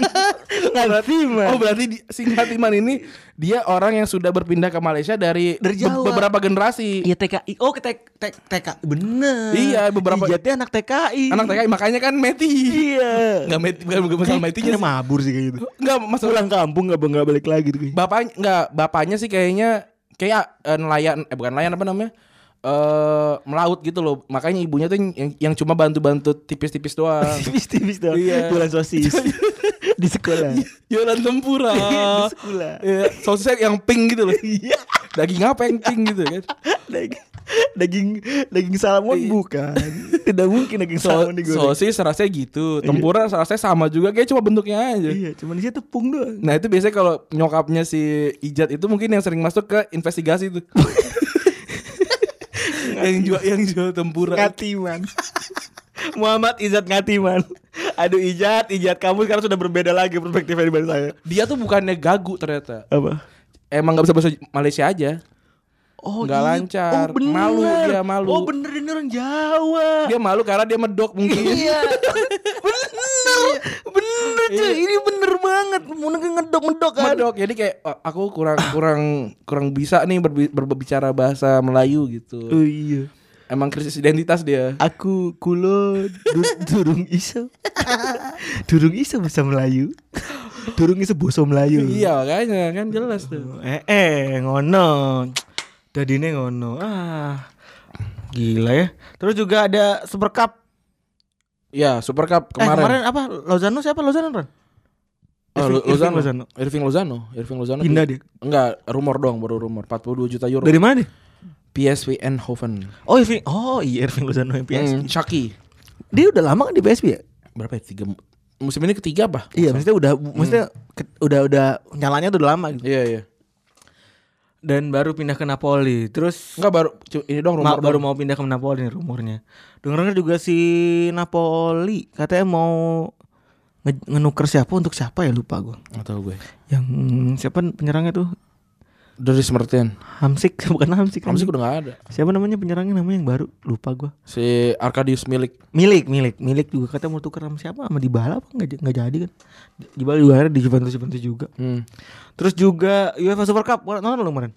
[SPEAKER 3] Ngatiman.
[SPEAKER 2] Oh berarti di- si Gatiman ini dia orang yang sudah berpindah ke Malaysia dari,
[SPEAKER 3] Dari
[SPEAKER 2] be-
[SPEAKER 3] Jawa.
[SPEAKER 2] beberapa generasi.
[SPEAKER 3] Iya TKI. Oh, ke TK, TK, bener.
[SPEAKER 2] Iya, beberapa-
[SPEAKER 3] Ijatnya anak TKI.
[SPEAKER 2] Anak TKI makanya kan meti.
[SPEAKER 3] Iya.
[SPEAKER 2] Enggak meti bukan bukan masalah metinya.
[SPEAKER 3] Kayaknya mabur sih kayak gitu.
[SPEAKER 2] Enggak masalah
[SPEAKER 3] Pulang kampung nggak nggak balik lagi tuh. kayaknya.
[SPEAKER 2] Bapaknya enggak, bapaknya sih kayaknya kayak eh, nelayan eh bukan nelayan apa namanya? eh melaut gitu loh. Makanya ibunya tuh yang, yang cuma bantu-bantu tipis-tipis doang.
[SPEAKER 3] Tipis-tipis doang.
[SPEAKER 2] Iya.
[SPEAKER 3] Jualan sosis di sekolah.
[SPEAKER 2] Yolan Iya, Tempura.
[SPEAKER 3] Di sekolah.
[SPEAKER 2] Iya, sausnya yang pink gitu loh.
[SPEAKER 3] Iya.
[SPEAKER 2] Daging apa yang pink gitu kan?
[SPEAKER 3] Daging daging daging salmon bukan. Tidak mungkin daging
[SPEAKER 2] Iya. So,
[SPEAKER 3] salmon digoreng.
[SPEAKER 2] sosis rasanya gitu, tempura rasanya sama juga, kayak cuma bentuknya aja.
[SPEAKER 3] Iya, cuman isinya tepung doang.
[SPEAKER 2] Nah itu biasanya kalau nyokapnya si Ijat itu mungkin yang sering masuk ke investigasi tuh. yang jual yang jual tempura.
[SPEAKER 3] Ngatiman. Muhammad Izat Ngatiman. Aduh Ijat, Ijat kamu sekarang sudah berbeda lagi perspektifnya dibanding saya.
[SPEAKER 2] Dia tuh bukannya gagu ternyata.
[SPEAKER 3] Apa?
[SPEAKER 2] Emang nggak bisa bahasa Malaysia aja.
[SPEAKER 3] Oh,
[SPEAKER 2] Nggak
[SPEAKER 3] iya.
[SPEAKER 2] lancar. Malu dia, malu.
[SPEAKER 3] Oh, bener ini orang Jawa.
[SPEAKER 2] Dia malu karena dia medok mungkin.
[SPEAKER 3] Iya. bener. Bener cuy. Ini bener banget. Mau ngedok Iya. ngedok kan.
[SPEAKER 2] medok. Jadi kayak "Oh, aku kurang kurang kurang bisa nih berbi- berbicara bahasa Melayu gitu.
[SPEAKER 3] Oh iya.
[SPEAKER 2] Emang krisis identitas dia.
[SPEAKER 3] Aku kulo du- durung iso. durung iso bahasa Melayu. Durung iso basa Melayu.
[SPEAKER 2] Iya makanya kan jelas tuh.
[SPEAKER 3] Eh, eh ngono. Dadine ngono. Ah. Gila ya. Terus juga ada Super Cup
[SPEAKER 2] Ya Super Cup
[SPEAKER 3] Eh,
[SPEAKER 2] kemarin.
[SPEAKER 3] kemarin apa? Lozano siapa Lozano, Ran?
[SPEAKER 2] Oh, Lu-
[SPEAKER 3] Irving- Irving
[SPEAKER 2] Lozano. Irving Lozano. Irving Lozano.
[SPEAKER 3] Pindah
[SPEAKER 2] di-
[SPEAKER 3] dia.
[SPEAKER 2] Enggak, rumor doang baru rumor. 42 juta euro.
[SPEAKER 3] Dari mana? dia?
[SPEAKER 2] PSV Eindhoven.
[SPEAKER 3] Oh, Irving. Oh, iya Irving Lozano yang PSV.
[SPEAKER 2] Hmm, Chucky.
[SPEAKER 3] Dia udah lama kan di PSV ya?
[SPEAKER 2] Berapa ya? Tiga musim ini ketiga apa?
[SPEAKER 3] Iya, maksudnya udah maksudnya ke- udah udah nyalanya tuh udah lama gitu.
[SPEAKER 2] Iya, iya.
[SPEAKER 3] Dan baru pindah ke Napoli. Terus
[SPEAKER 2] Enggak baru cu- ini dong rumor
[SPEAKER 3] ma- baru
[SPEAKER 2] doang.
[SPEAKER 3] mau pindah ke Napoli nih rumornya. Dengar-dengar juga si Napoli katanya mau nge- ngenuker siapa untuk siapa ya lupa gua.
[SPEAKER 2] Nggak tahu gue.
[SPEAKER 3] Yang siapa penyerangnya tuh?
[SPEAKER 2] Doris Mertens.
[SPEAKER 3] Hamsik bukan Hamsik.
[SPEAKER 2] Ramsey udah nggak ada.
[SPEAKER 3] Siapa namanya penyerangnya namanya yang baru? Lupa gua.
[SPEAKER 2] Si Arkadius Milik.
[SPEAKER 3] Milik, milik, milik juga katanya mau tuker sama siapa? Sama Dybala apa nggak j- nggak jadi kan? Dybala juga akhirnya di Juventus Juventus juga.
[SPEAKER 2] Hmm.
[SPEAKER 3] Terus juga UEFA Super Cup Wah, nonton lu kemarin?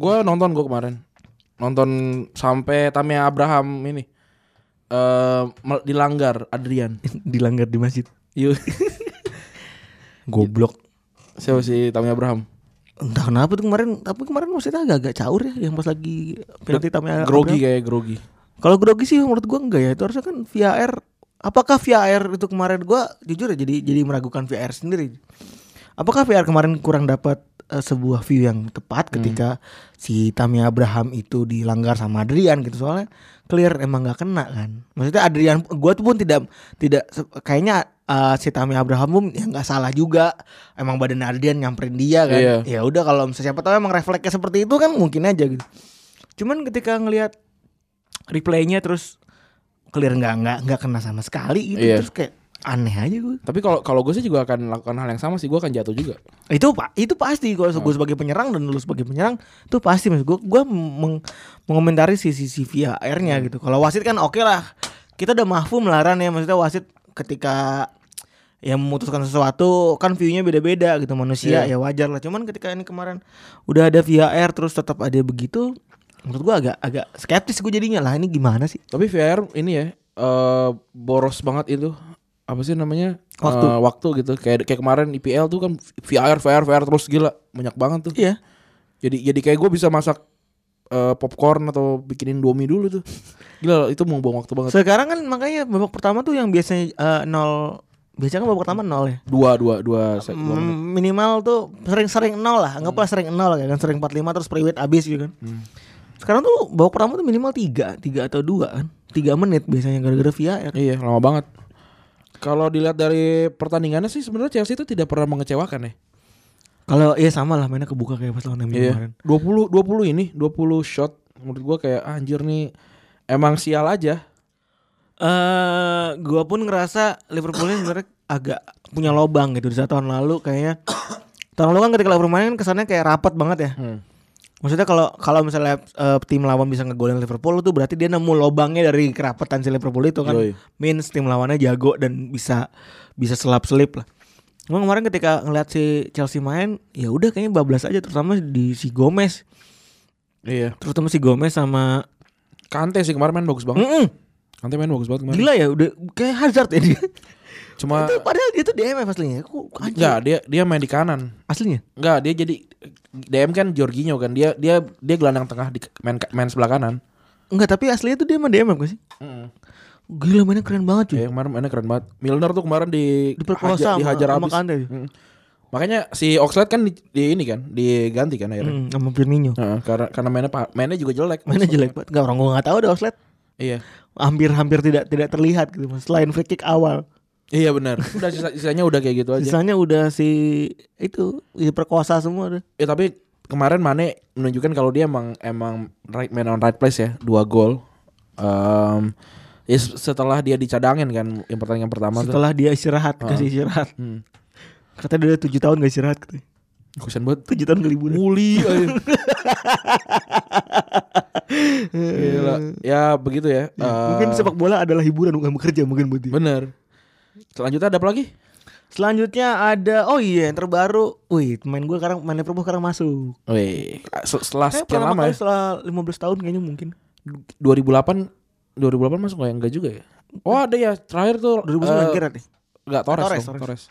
[SPEAKER 2] Gue nonton gue kemarin. Nonton sampai Tammy Abraham ini. Eh mel- dilanggar Adrian.
[SPEAKER 3] Dilanggar di masjid.
[SPEAKER 2] Yuk.
[SPEAKER 3] Goblok.
[SPEAKER 2] Siapa sih Tammy Abraham?
[SPEAKER 3] Entah kenapa tuh kemarin, tapi kemarin maksudnya agak-agak caur ya yang pas lagi penalti tamnya
[SPEAKER 2] Grogi
[SPEAKER 3] Abraham.
[SPEAKER 2] kayak grogi.
[SPEAKER 3] Kalau grogi sih menurut gua enggak ya. Itu harusnya kan VAR apakah VAR itu kemarin gua jujur ya jadi jadi meragukan VAR sendiri. Apakah VAR kemarin kurang dapat eh, sebuah view yang tepat ketika si Tammy Abraham itu dilanggar sama Adrian gitu soalnya clear emang nggak kena kan. Maksudnya Adrian gua tuh pun tidak tidak se- kayaknya eh, si Tammy Abraham pun ya nggak salah juga. Emang badan Adrian nyamperin dia kan.
[SPEAKER 2] Iya.
[SPEAKER 3] Ya udah kalau misalnya siapa tahu emang refleksnya seperti itu kan mungkin aja gitu. Cuman ketika ngelihat replaynya terus clear nggak nggak nggak kena sama sekali gitu
[SPEAKER 2] Iya.
[SPEAKER 3] terus kayak aneh aja gue
[SPEAKER 2] Tapi kalau kalau gue sih juga akan lakukan hal yang sama sih, gue akan jatuh juga.
[SPEAKER 3] itu pak itu pasti kalau gue sebagai penyerang dan lu sebagai penyerang itu pasti mas gue gue meng- mengomentari sisi sisi VAR-nya gitu kalau wasit kan oke lah kita udah mahfum melarang ya maksudnya wasit ketika ya memutuskan sesuatu kan view-nya beda-beda gitu manusia ya wajar lah cuman ketika ini kemarin udah ada VAR terus tetap ada begitu menurut gue agak agak skeptis gue jadinya lah ini gimana sih
[SPEAKER 2] Tapi VR ini ya eh boros banget itu apa sih namanya
[SPEAKER 3] Waktu.
[SPEAKER 2] Eh, waktu gitu kayak kayak kemarin IPL tuh kan VR VR VR terus gila banyak banget tuh
[SPEAKER 3] iya
[SPEAKER 2] jadi jadi kayak gue bisa masak eh, popcorn atau bikinin domi dulu tuh gila itu mau buang waktu banget
[SPEAKER 3] sekarang kan makanya babak pertama tuh yang biasanya eh, nol biasanya kan babak pertama nol ya
[SPEAKER 2] dua dua dua set dua menit.
[SPEAKER 3] Mm, minimal tuh sering-sering nol lah anggaplah sering nol kayak kan sering 45 terus periwit abis gitu kan sekarang tuh babak pertama tuh minimal tiga tiga atau dua kan tiga menit biasanya gara-gara via
[SPEAKER 2] iya lama banget kalau dilihat dari pertandingannya sih sebenarnya Chelsea itu tidak pernah mengecewakan ya
[SPEAKER 3] kalau iya sama lah mainnya kebuka kayak pas lawan MU kemarin
[SPEAKER 2] Iya. 20 20 ini 20 shot menurut gua kayak "Ah, anjir nih emang sial aja.
[SPEAKER 3] eh gua pun ngerasa Liverpoolnya sebenarnya agak punya lobang gitu di saat tahun lalu kayaknya tahun lalu kan ketika Liverpool main kan kesannya kayak rapat banget ya Maksudnya kalau kalau misalnya eh, tim lawan bisa ngegolin Liverpool tuh berarti dia nemu lobangnya dari kerapetan si Liverpool itu kan.
[SPEAKER 2] Yoi.
[SPEAKER 3] Means tim lawannya jago dan bisa bisa selap-selip lah. Emang kemarin ketika ngeliat si Chelsea main, ya udah kayaknya bablas aja terutama di si Gomez,
[SPEAKER 2] Iya.
[SPEAKER 3] terutama si Gomez sama
[SPEAKER 2] Kante sih kemarin main bagus banget.
[SPEAKER 3] Mm-mm.
[SPEAKER 2] Kante main bagus banget kemarin.
[SPEAKER 3] gila ya udah kayak Hazard ya dia.
[SPEAKER 2] Cuma
[SPEAKER 3] Itu padahal dia tuh DM aslinya. Kok anjir?
[SPEAKER 2] enggak dia dia main di kanan.
[SPEAKER 3] Aslinya.
[SPEAKER 2] Enggak, dia jadi DM kan Jorginho kan. Dia dia dia gelandang tengah di main main sebelah kanan.
[SPEAKER 3] Enggak, tapi aslinya tuh dia mah DM apa sih? Gila mainnya keren banget cuy.
[SPEAKER 2] Ya, kemarin mainnya keren banget. Milner tuh kemarin di
[SPEAKER 3] Diperkosa
[SPEAKER 2] hajar-
[SPEAKER 3] sama-
[SPEAKER 2] dihajar
[SPEAKER 3] sama
[SPEAKER 2] habis.
[SPEAKER 3] Kante.
[SPEAKER 2] Mm. Makanya si Oxlade kan di, di ini kan diganti kan akhirnya.
[SPEAKER 3] Mm, sama Firmino.
[SPEAKER 2] Heeh, karena karena mainnya pa- mainnya juga jelek.
[SPEAKER 3] Mainnya jelek banget. Enggak orang gua enggak tahu ada Oslet.
[SPEAKER 2] Iya.
[SPEAKER 3] hampir-hampir tidak tidak terlihat gitu Mas. Selain free kick awal.
[SPEAKER 2] Iya benar. Udah sisa, sisanya udah kayak gitu aja.
[SPEAKER 3] Sisanya udah si itu diperkosa semua udah.
[SPEAKER 2] Ya tapi kemarin Mane menunjukkan kalau dia emang emang right man on right place ya, dua gol. Em, ya se- setelah dia dicadangin kan yang pertandingan pertama tuh.
[SPEAKER 3] Setelah dia istirahat, kasih istirahat.
[SPEAKER 2] Hmm.
[SPEAKER 3] Katanya dia udah 7 tahun gak istirahat katanya.
[SPEAKER 2] Kasian banget.
[SPEAKER 3] 7 tahun keliburan.
[SPEAKER 2] Muli eh, aja. Uh, Gila. Ya begitu ya. Eh,
[SPEAKER 3] Iya, Mungkin sepak bola adalah hiburan bukan bekerja mungkin buat dia.
[SPEAKER 2] bener. Selanjutnya ada apa lagi?
[SPEAKER 3] Selanjutnya ada oh iya yang terbaru. Wih, main gue sekarang main Liverpool sekarang masuk.
[SPEAKER 2] Wih, se- setelah
[SPEAKER 3] Kayak
[SPEAKER 2] sekian
[SPEAKER 3] Eh, pertama
[SPEAKER 2] lama
[SPEAKER 3] kali
[SPEAKER 2] ya.
[SPEAKER 3] setelah 15 tahun kayaknya mungkin.
[SPEAKER 2] 2008 2008 masuk nggak ya? Enggak juga ya.
[SPEAKER 3] Eh.
[SPEAKER 2] Oh ada ya terakhir tuh
[SPEAKER 3] 2009
[SPEAKER 2] eh,
[SPEAKER 3] kira nih.
[SPEAKER 2] Enggak Torres,
[SPEAKER 3] Torres,
[SPEAKER 2] dong,
[SPEAKER 3] Torres.
[SPEAKER 2] Torres.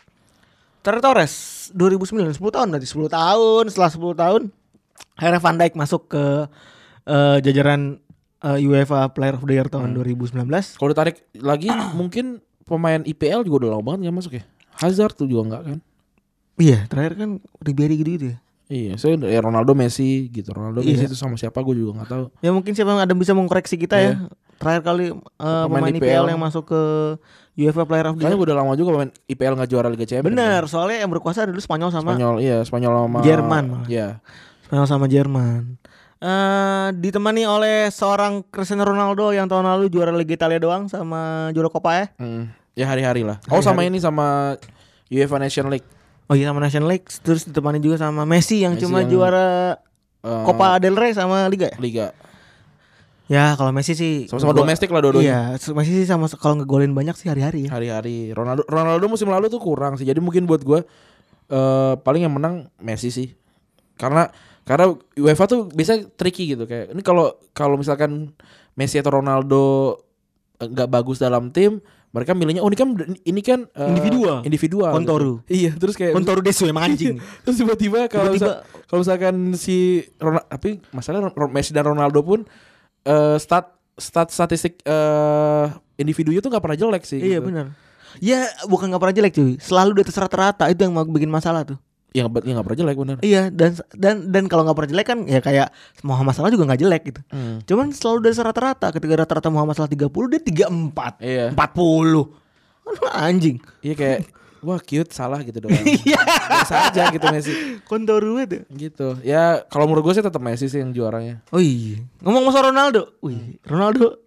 [SPEAKER 3] Terry Torres 2009 10 tahun berarti 10 tahun setelah 10 tahun akhirnya Van Dijk masuk ke eh, jajaran eh, UEFA Player of the Year
[SPEAKER 2] Hmm.
[SPEAKER 3] tahun 2019
[SPEAKER 2] Kalau ditarik lagi mungkin pemain IPL juga udah lama banget nggak masuk ya. Hazard tuh juga nggak kan?
[SPEAKER 3] iya terakhir kan Ribery gitu-gitu ya
[SPEAKER 2] Iya, saya ya Ronaldo Messi gitu. Ronaldo
[SPEAKER 3] Iya.
[SPEAKER 2] Messi itu sama siapa gue juga nggak tahu.
[SPEAKER 3] ya mungkin siapa yang ada bisa mengkoreksi kita
[SPEAKER 2] Iya.
[SPEAKER 3] ya terakhir kali eh, pemain,
[SPEAKER 2] IPL.
[SPEAKER 3] IPL yang masuk ke UEFA Player of the
[SPEAKER 2] Kayaknya
[SPEAKER 3] Year
[SPEAKER 2] udah lama juga pemain IPL nggak juara Liga Champions.
[SPEAKER 3] bener soalnya yang berkuasa dulu Spanyol sama
[SPEAKER 2] Spanyol, iya Spanyol sama
[SPEAKER 3] Jerman malah.
[SPEAKER 2] Iya.
[SPEAKER 3] Spanyol sama Jerman Eh ditemani oleh seorang Cristiano Ronaldo yang tahun lalu juara Liga Italia doang sama juara Coppa ya
[SPEAKER 2] Mm, ya hari-hari lah. Oh sama ini sama UEFA Nation League.
[SPEAKER 3] Oh iya sama National League terus ditemani juga sama Messi yang
[SPEAKER 2] Messi
[SPEAKER 3] cuma
[SPEAKER 2] yang-
[SPEAKER 3] juara
[SPEAKER 2] Eh,
[SPEAKER 3] Copa del Rey sama Liga ya.
[SPEAKER 2] Liga.
[SPEAKER 3] Ya kalau Messi sih
[SPEAKER 2] Sama-sama
[SPEAKER 3] ngegol-
[SPEAKER 2] domestik lah dua-duanya.
[SPEAKER 3] Iya, Messi sih sama kalau ngegolin banyak sih hari-hari ya.
[SPEAKER 2] Hari-hari Ronaldo Ronaldo musim lalu tuh kurang sih. Jadi mungkin buat gue eh paling yang menang Messi sih. Karena karena UEFA tuh bisa tricky gitu kayak ini kalau kalau misalkan Messi atau Ronaldo eh, nggak bagus dalam tim, mereka milihnya oh ini kan ini kan eh,
[SPEAKER 3] Individual.
[SPEAKER 2] individual.
[SPEAKER 3] Kontoru.
[SPEAKER 2] gitu. Iya, terus kayak
[SPEAKER 3] Kontor Desu emang anjing.
[SPEAKER 2] terus tiba-tiba kalau
[SPEAKER 3] Tiba-tiba-
[SPEAKER 2] misal- kalau misalkan si Ronaldo tapi masalahnya Ron- Ron- Messi dan Ronaldo pun eh stat stat statistik eh individunya tuh nggak pernah jelek sih.
[SPEAKER 3] iya
[SPEAKER 2] gitu.
[SPEAKER 3] benar. Ya bukan nggak pernah jelek cuy, selalu di atas rata-rata itu yang mau bikin masalah tuh.
[SPEAKER 2] Yang nggak yang nggak pernah jelek bener.
[SPEAKER 3] Iya dan dan dan kalau nggak pernah jelek kan ya kayak Muhammad Salah juga nggak jelek gitu.
[SPEAKER 2] Hmm.
[SPEAKER 3] Cuman selalu dari rata-rata ketika rata-rata Muhammad Salah 30 dia 34,
[SPEAKER 2] Iya.
[SPEAKER 3] 40. Kan Anjing.
[SPEAKER 2] Iya kayak wah cute salah gitu doang.
[SPEAKER 3] Iya.
[SPEAKER 2] Biasa aja gitu Messi.
[SPEAKER 3] Kontor tuh.
[SPEAKER 2] Gitu. Ya kalau menurut gue sih tetap Messi sih yang juaranya.
[SPEAKER 3] Oh iya. Ngomong masa Ronaldo. Wih, Ronaldo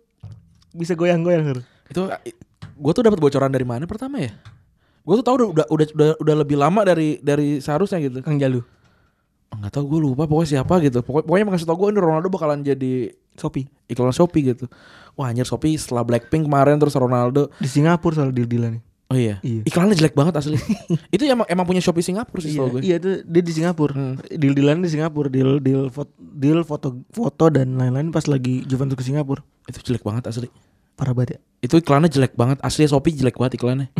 [SPEAKER 3] bisa goyang-goyang. Her.
[SPEAKER 2] Itu gue tuh dapat bocoran dari mana pertama ya? Gue tuh tahu udah, udah udah udah udah lebih lama dari dari seharusnya gitu.
[SPEAKER 3] Kang Jalu,
[SPEAKER 2] Enggak tahu gue lupa pokoknya siapa gitu. Pokoknya, pokoknya ngasih tau gue ini Ronaldo bakalan jadi
[SPEAKER 3] Sopi
[SPEAKER 2] iklan Shopee gitu. Wah anjir Shopee setelah Blackpink kemarin terus Ronaldo.
[SPEAKER 3] di Singapura soal deal dealannya.
[SPEAKER 2] Oh iya.
[SPEAKER 3] Iya.
[SPEAKER 2] Iklannya jelek banget asli. itu emang emang punya Shopee Singapura sih
[SPEAKER 3] Iya,
[SPEAKER 2] setahu gue.
[SPEAKER 3] iya tuh dia di Singapura. Deal dealan di Singapura, deal deal foto, deal foto foto dan lain-lain pas lagi Juventus ke Singapura.
[SPEAKER 2] Itu jelek banget asli.
[SPEAKER 3] Parah banget ya.
[SPEAKER 2] Itu iklannya jelek banget. Asli Shopee jelek banget iklannya.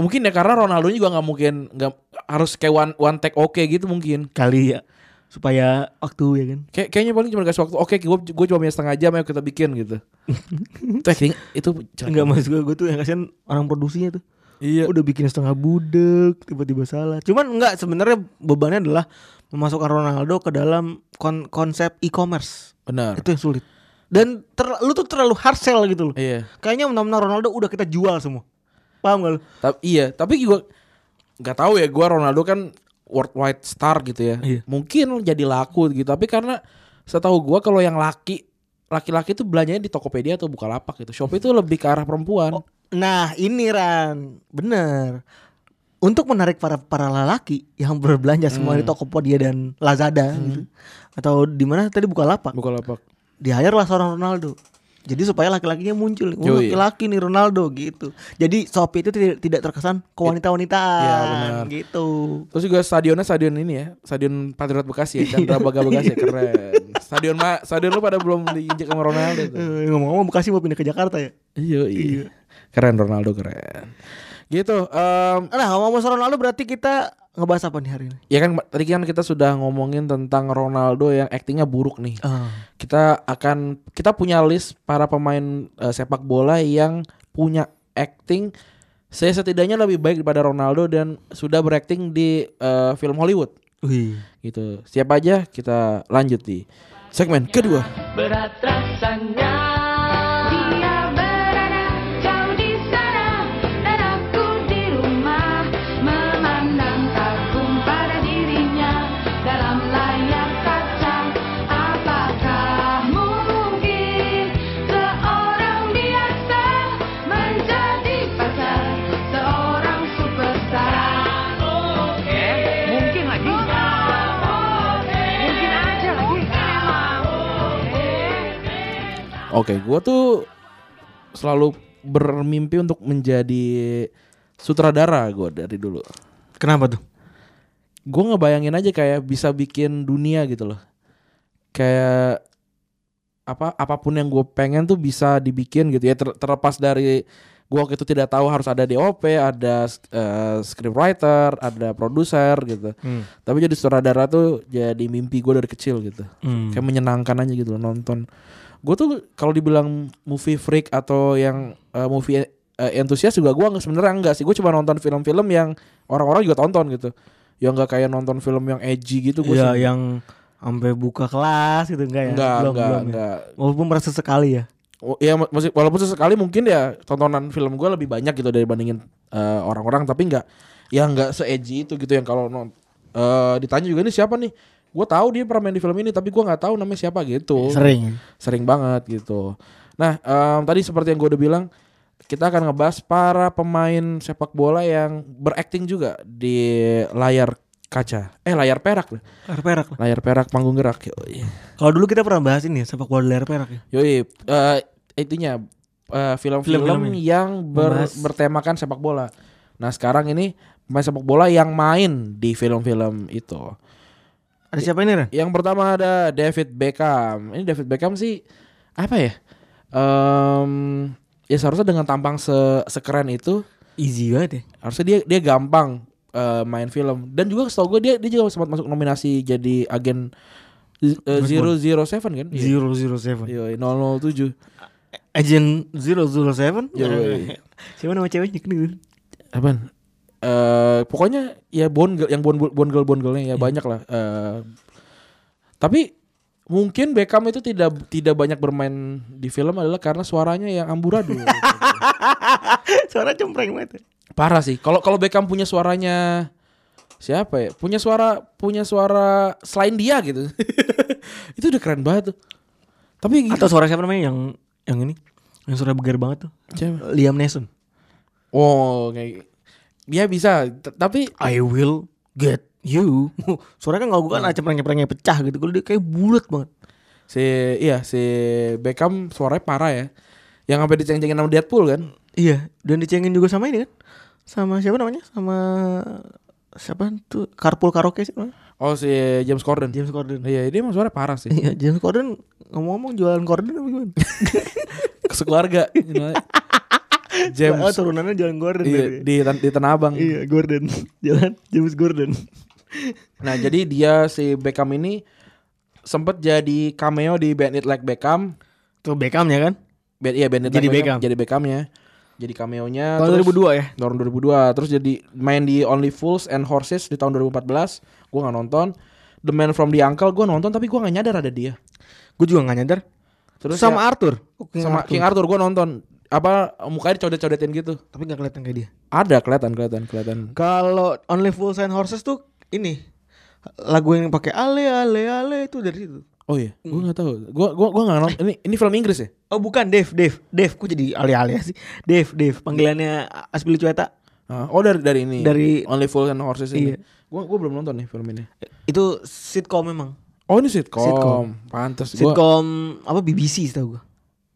[SPEAKER 2] mungkin ya karena Ronaldo juga nggak mungkin nggak harus kayak one, one take oke gitu mungkin.
[SPEAKER 3] Kali ya supaya waktu ya kan.
[SPEAKER 2] Kayak, kayaknya paling cuma kasih waktu. Oke, gue gue cuma punya setengah jam ayo kita bikin gitu. itu acting itu jelek.
[SPEAKER 3] Enggak mas gue, gue tuh yang kasihan orang produksinya tuh.
[SPEAKER 2] Iya.
[SPEAKER 3] Udah bikin setengah budek, tiba-tiba salah. Cuman enggak sebenarnya bebannya adalah memasukkan Ronaldo ke dalam kon- konsep e-commerce.
[SPEAKER 2] Benar.
[SPEAKER 3] Itu yang sulit. Dan ter- lu tuh terlalu hard sell gitu loh.
[SPEAKER 2] Iya.
[SPEAKER 3] Kayaknya menang-menang Ronaldo udah kita jual semua. Paham gak lu?
[SPEAKER 2] Tapi iya, tapi juga nggak tahu ya gua Ronaldo kan worldwide star gitu ya.
[SPEAKER 3] Iya.
[SPEAKER 2] Mungkin jadi laku gitu, tapi karena setahu gua kalau yang laki laki-laki tuh belanjanya di Tokopedia atau Bukalapak gitu. Shopee itu lebih ke arah perempuan.
[SPEAKER 3] Nah ini Ran Bener Untuk menarik para para lelaki Yang berbelanja semua di
[SPEAKER 2] Hmm.
[SPEAKER 3] Tokopedia dan Lazada gitu Atau di mana tadi buka lapak
[SPEAKER 2] Bukalapak.
[SPEAKER 3] Di hire lah seorang Ronaldo jadi supaya laki-lakinya muncul, Oh,
[SPEAKER 2] Yoi.
[SPEAKER 3] laki-laki nih Ronaldo gitu. Jadi Shopee itu tidak, tidak terkesan ke
[SPEAKER 2] benar.
[SPEAKER 3] wanita-wanitaan gitu.
[SPEAKER 2] Terus juga stadionnya stadion ini ya, stadion Patriot Bekasi ya, Chandra Baga Bekasi keren. Stadion ma, stadion lu pada belum diinjek sama Ronaldo tuh.
[SPEAKER 3] Eh, Ngomong-ngomong Bekasi mau pindah ke Jakarta ya?
[SPEAKER 2] Iya, iya. Keren Ronaldo keren. Gitu. em,
[SPEAKER 3] Nah ngomong-ngomong soal Ronaldo berarti kita ngebahas apa nih hari ini?
[SPEAKER 2] ya kan tadi kan kita sudah ngomongin tentang Ronaldo yang aktingnya buruk nih.
[SPEAKER 3] Ah.
[SPEAKER 2] Kita akan kita punya list para pemain eh, sepak bola yang punya acting saya setidaknya lebih baik daripada Ronaldo dan sudah berakting di eh, film Hollywood
[SPEAKER 3] Wih.
[SPEAKER 2] gitu. Siapa aja kita lanjut di segmen kedua.
[SPEAKER 4] berat rasanya dia berada jauh di sana dan aku di rumah memandang kagum pada dirinya dalam layar kaca apakah mungkin seorang biasa menjadi pacar seorang superstar oke mungkin lagi mungkin aja Eh. lagi
[SPEAKER 2] Oke, gua tuh selalu bermimpi untuk menjadi sutradara gua dari dulu.
[SPEAKER 3] Kenapa tuh?
[SPEAKER 2] gue ngebayangin aja kayak bisa bikin dunia gitu loh kayak apa apapun yang gue pengen tuh bisa dibikin gitu ya ter- terlepas dari gue waktu itu tidak tahu harus ada DOP ada eh, scriptwriter ada produser gitu
[SPEAKER 3] Hmm.
[SPEAKER 2] tapi jadi sutradara tuh jadi mimpi gue dari kecil gitu
[SPEAKER 3] Hmm.
[SPEAKER 2] kayak menyenangkan aja gitu loh nonton gue tuh kalau dibilang movie freak atau yang eh, movie eh, entusias juga gue nggak sebenarnya enggak sih gue cuma nonton film-film yang orang-orang juga tonton gitu yang nggak kayak nonton film yang edgy gitu gue
[SPEAKER 3] Iya yang sampai buka kelas gitu enggak ya?
[SPEAKER 2] enggak
[SPEAKER 3] belum,
[SPEAKER 2] enggak
[SPEAKER 3] belum ya?
[SPEAKER 2] enggak
[SPEAKER 3] Walaupun merasa sekali ya.
[SPEAKER 2] Oh, ya mak- maksud- walaupun sesekali mungkin ya tontonan film gue lebih banyak gitu dari bandingin eh, orang-orang tapi nggak ya nggak se edgy itu gitu yang kalau non eh, ditanya juga ini siapa nih gue tahu dia pernah main di film ini tapi gue nggak tahu namanya siapa
[SPEAKER 3] Oh.
[SPEAKER 2] gitu
[SPEAKER 3] Iya, Sering.
[SPEAKER 2] sering banget gitu. Nah, em, tadi seperti yang gue udah bilang, kita akan ngebahas para pemain sepak bola yang berakting juga di layar kaca. Eh, layar perak. loh.
[SPEAKER 3] Layar perak lah.
[SPEAKER 2] Layar perak panggung gerak. Yoi,
[SPEAKER 3] Kalau dulu kita pernah bahas ini ya sepak bola di layar perak ya.
[SPEAKER 2] Yoi eh, intinya eh, film-film
[SPEAKER 3] Film-film
[SPEAKER 2] yang ber-
[SPEAKER 3] Membahas.
[SPEAKER 2] bertemakan sepak bola. Nah, sekarang ini pemain sepak bola yang main di film-film itu.
[SPEAKER 3] Ada siapa ini Ren?
[SPEAKER 2] Yang pertama ada David Beckham. Ini David Beckham sih apa ya? Em, ya seharusnya dengan tampang se- sekeren itu
[SPEAKER 3] Easy banget ya.
[SPEAKER 2] harusnya dia dia gampang eh, main film. Dan juga setahu gue dia dia juga sempat masuk nominasi jadi agen z- eh, 007 kan? Iya.
[SPEAKER 3] Zero zero seven.
[SPEAKER 2] Yoi, 007.
[SPEAKER 3] Agent zero zero seven.
[SPEAKER 2] Yoi.
[SPEAKER 3] Siapa nama ceweknya Kena.
[SPEAKER 2] Apaan? Eh, pokoknya ya bondgel yang bond bondgel bondgelnya ya banyak lah. Eh, tapi mungkin Beckham itu tidak tidak banyak bermain di film adalah karena suaranya yang amburadul.
[SPEAKER 3] Suara cempreng banget. ya.
[SPEAKER 2] Parah sih. Kalau kalau Beckham punya suaranya siapa ya? Punya suara punya suara selain dia gitu. itu udah keren banget tuh. Tapi
[SPEAKER 3] Atau suara siapa namanya yang yang ini? Yang sudah begar banget tuh.
[SPEAKER 2] Siapa?
[SPEAKER 3] Liam Neeson.
[SPEAKER 2] Oh, kayak dia bisa, t- tapi
[SPEAKER 3] I will get you. Suaranya kan kalau gue kan acem prengnya pecah gitu. Kalau dia kayak bulat banget.
[SPEAKER 2] si iya si Beckham suaranya parah ya. Yang sampai diceng-cengin sama Deadpool kan?
[SPEAKER 3] Iya, dan dicengin juga sama ini kan. Sama siapa namanya? Sama siapa tuh? Carpool karaoke sih namanya?
[SPEAKER 2] Oh si James Corden.
[SPEAKER 3] James Corden.
[SPEAKER 2] Iya, dia emang suaranya parah sih.
[SPEAKER 3] Iya, James Corden ngomong-ngomong jualan Corden apa gimana?
[SPEAKER 2] Sekeluarga. you know. James
[SPEAKER 3] Oh, turunannya jalan Gordon. berarti.
[SPEAKER 2] iya, di di Tanah Abang.
[SPEAKER 3] Iya, Gordon. Jalan James Gordon.
[SPEAKER 2] Nah, jadi dia si Beckham ini sempet jadi cameo di Band It Like Beckham.
[SPEAKER 3] Tuh Beckham ya kan?
[SPEAKER 2] Band, iya, Band It
[SPEAKER 3] Jadi
[SPEAKER 2] Like
[SPEAKER 3] Beckham.
[SPEAKER 2] Jadi Beckhamnya. Jadi cameonya.
[SPEAKER 3] Tahun
[SPEAKER 2] terus-
[SPEAKER 3] 2002 ya?
[SPEAKER 2] Tahun 2002. Terus jadi main di Only Fools and Horses di tahun 2014. Gue nggak nonton. The Man from the Uncle gue nonton tapi gue nggak nyadar ada dia.
[SPEAKER 3] Gue juga gak nyadar.
[SPEAKER 2] Terus
[SPEAKER 3] sama
[SPEAKER 2] ya,
[SPEAKER 3] Oh, Arthur.
[SPEAKER 2] sama King Arthur gue nonton. Apa mukanya codet-codetin gitu?
[SPEAKER 3] Tapi gak kelihatan kayak dia.
[SPEAKER 2] Ada kelihatan kelihatan kelihatan.
[SPEAKER 3] Kalau Only Fools and Horses tuh ini lagu yang pakai ale ale ale itu dari situ.
[SPEAKER 2] Oh iya, gue nggak tahu. Gue gua gua nggak nonton. Ini ini film Inggris ya?
[SPEAKER 3] Oh bukan Dave, Dave, Dave. Kok jadi ale-ale sih? Dave, Dave. Panggilannya Aspili Cueta.
[SPEAKER 2] Ah, Oh dari dari ini.
[SPEAKER 3] Dari-
[SPEAKER 2] Only Fools and Horses ini.
[SPEAKER 3] Iya.
[SPEAKER 2] Gua gua belum nonton nih film ini.
[SPEAKER 3] Itu sitcom memang.
[SPEAKER 2] Oh ini sitcom.
[SPEAKER 3] Sitcom.
[SPEAKER 2] Pantes. Gua,
[SPEAKER 3] Sitcom apa BBC setahu gua.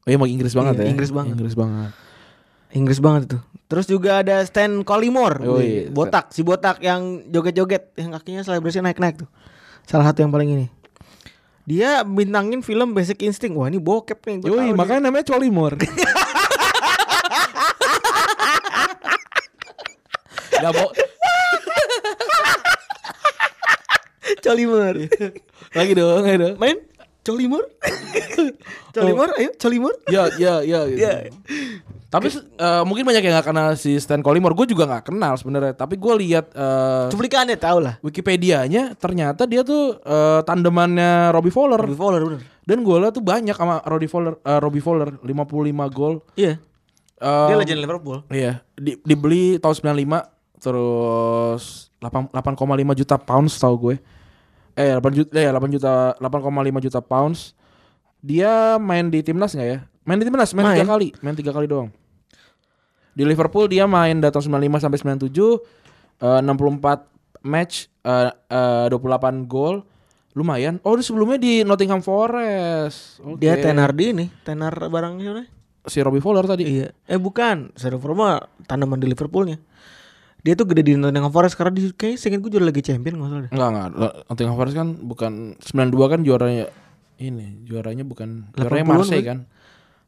[SPEAKER 2] oh, emang Inggris banget
[SPEAKER 3] Iya,
[SPEAKER 2] ya.
[SPEAKER 3] Inggris banget.
[SPEAKER 2] Inggris banget.
[SPEAKER 3] Inggris banget itu. Terus juga ada Stan Collymore,
[SPEAKER 2] Yoi,
[SPEAKER 3] botak, si botak yang joget-joget, yang kakinya selebrasi naik-naik tuh. Salah satu yang paling ini. Dia bintangin film Basic Instinct. Wah ini bokep nih. gua tahu
[SPEAKER 2] Yoi,
[SPEAKER 3] nih.
[SPEAKER 2] makanya namanya Colimor. Gak bo
[SPEAKER 3] Collymore.
[SPEAKER 2] Iya. lagi dong, lagi dong.
[SPEAKER 3] Main Colimor. Colimor, ayo Colimor.
[SPEAKER 2] Ya, ya, ya. gitu.
[SPEAKER 3] Iya.
[SPEAKER 2] Tapi eh, mungkin banyak yang gak kenal si Stan Colimor. Gue juga gak kenal sebenarnya. Tapi gue lihat eh,
[SPEAKER 3] Cuplikannya tau lah.
[SPEAKER 2] Wikipedia-nya ternyata dia tuh eh, tandemannya Robbie Fowler.
[SPEAKER 3] Robbie Fowler bener.
[SPEAKER 2] Dan golnya tuh banyak sama Robbie Fowler, eh, Robbie Fowler 55 gol.
[SPEAKER 3] Iya. Dia
[SPEAKER 2] Eh,
[SPEAKER 3] legend Liverpool.
[SPEAKER 2] Iya, di- dibeli tahun 95 terus 8 8,5 juta pounds tahu gue. Eh 8 juta ya 8 juta 8,5 juta pounds. Dia main di timnas nggak ya? Main di timnas, main,
[SPEAKER 3] Main.
[SPEAKER 2] tiga kali, main tiga kali doang. Di Liverpool dia main dari tahun 95 sampai 97 eh, 64 match eh, eh, 28 gol. Lumayan. Oh, dia sebelumnya di Nottingham Forest. Oke.
[SPEAKER 3] Dia tenar di ini, tenar barang siapa? nih?
[SPEAKER 2] si Robbie Fowler tadi.
[SPEAKER 3] Iya. Eh bukan, Shadow Forma tanaman di Liverpoolnya. Dia tuh gede di Nottingham Forest karena di kayak singkat gue juara lagi champion nggak salah deh.
[SPEAKER 2] Enggak enggak Lo- Nottingham Forest kan bukan 92 kan juaranya ini juaranya bukan juaranya
[SPEAKER 3] 80-an
[SPEAKER 2] Marseille kan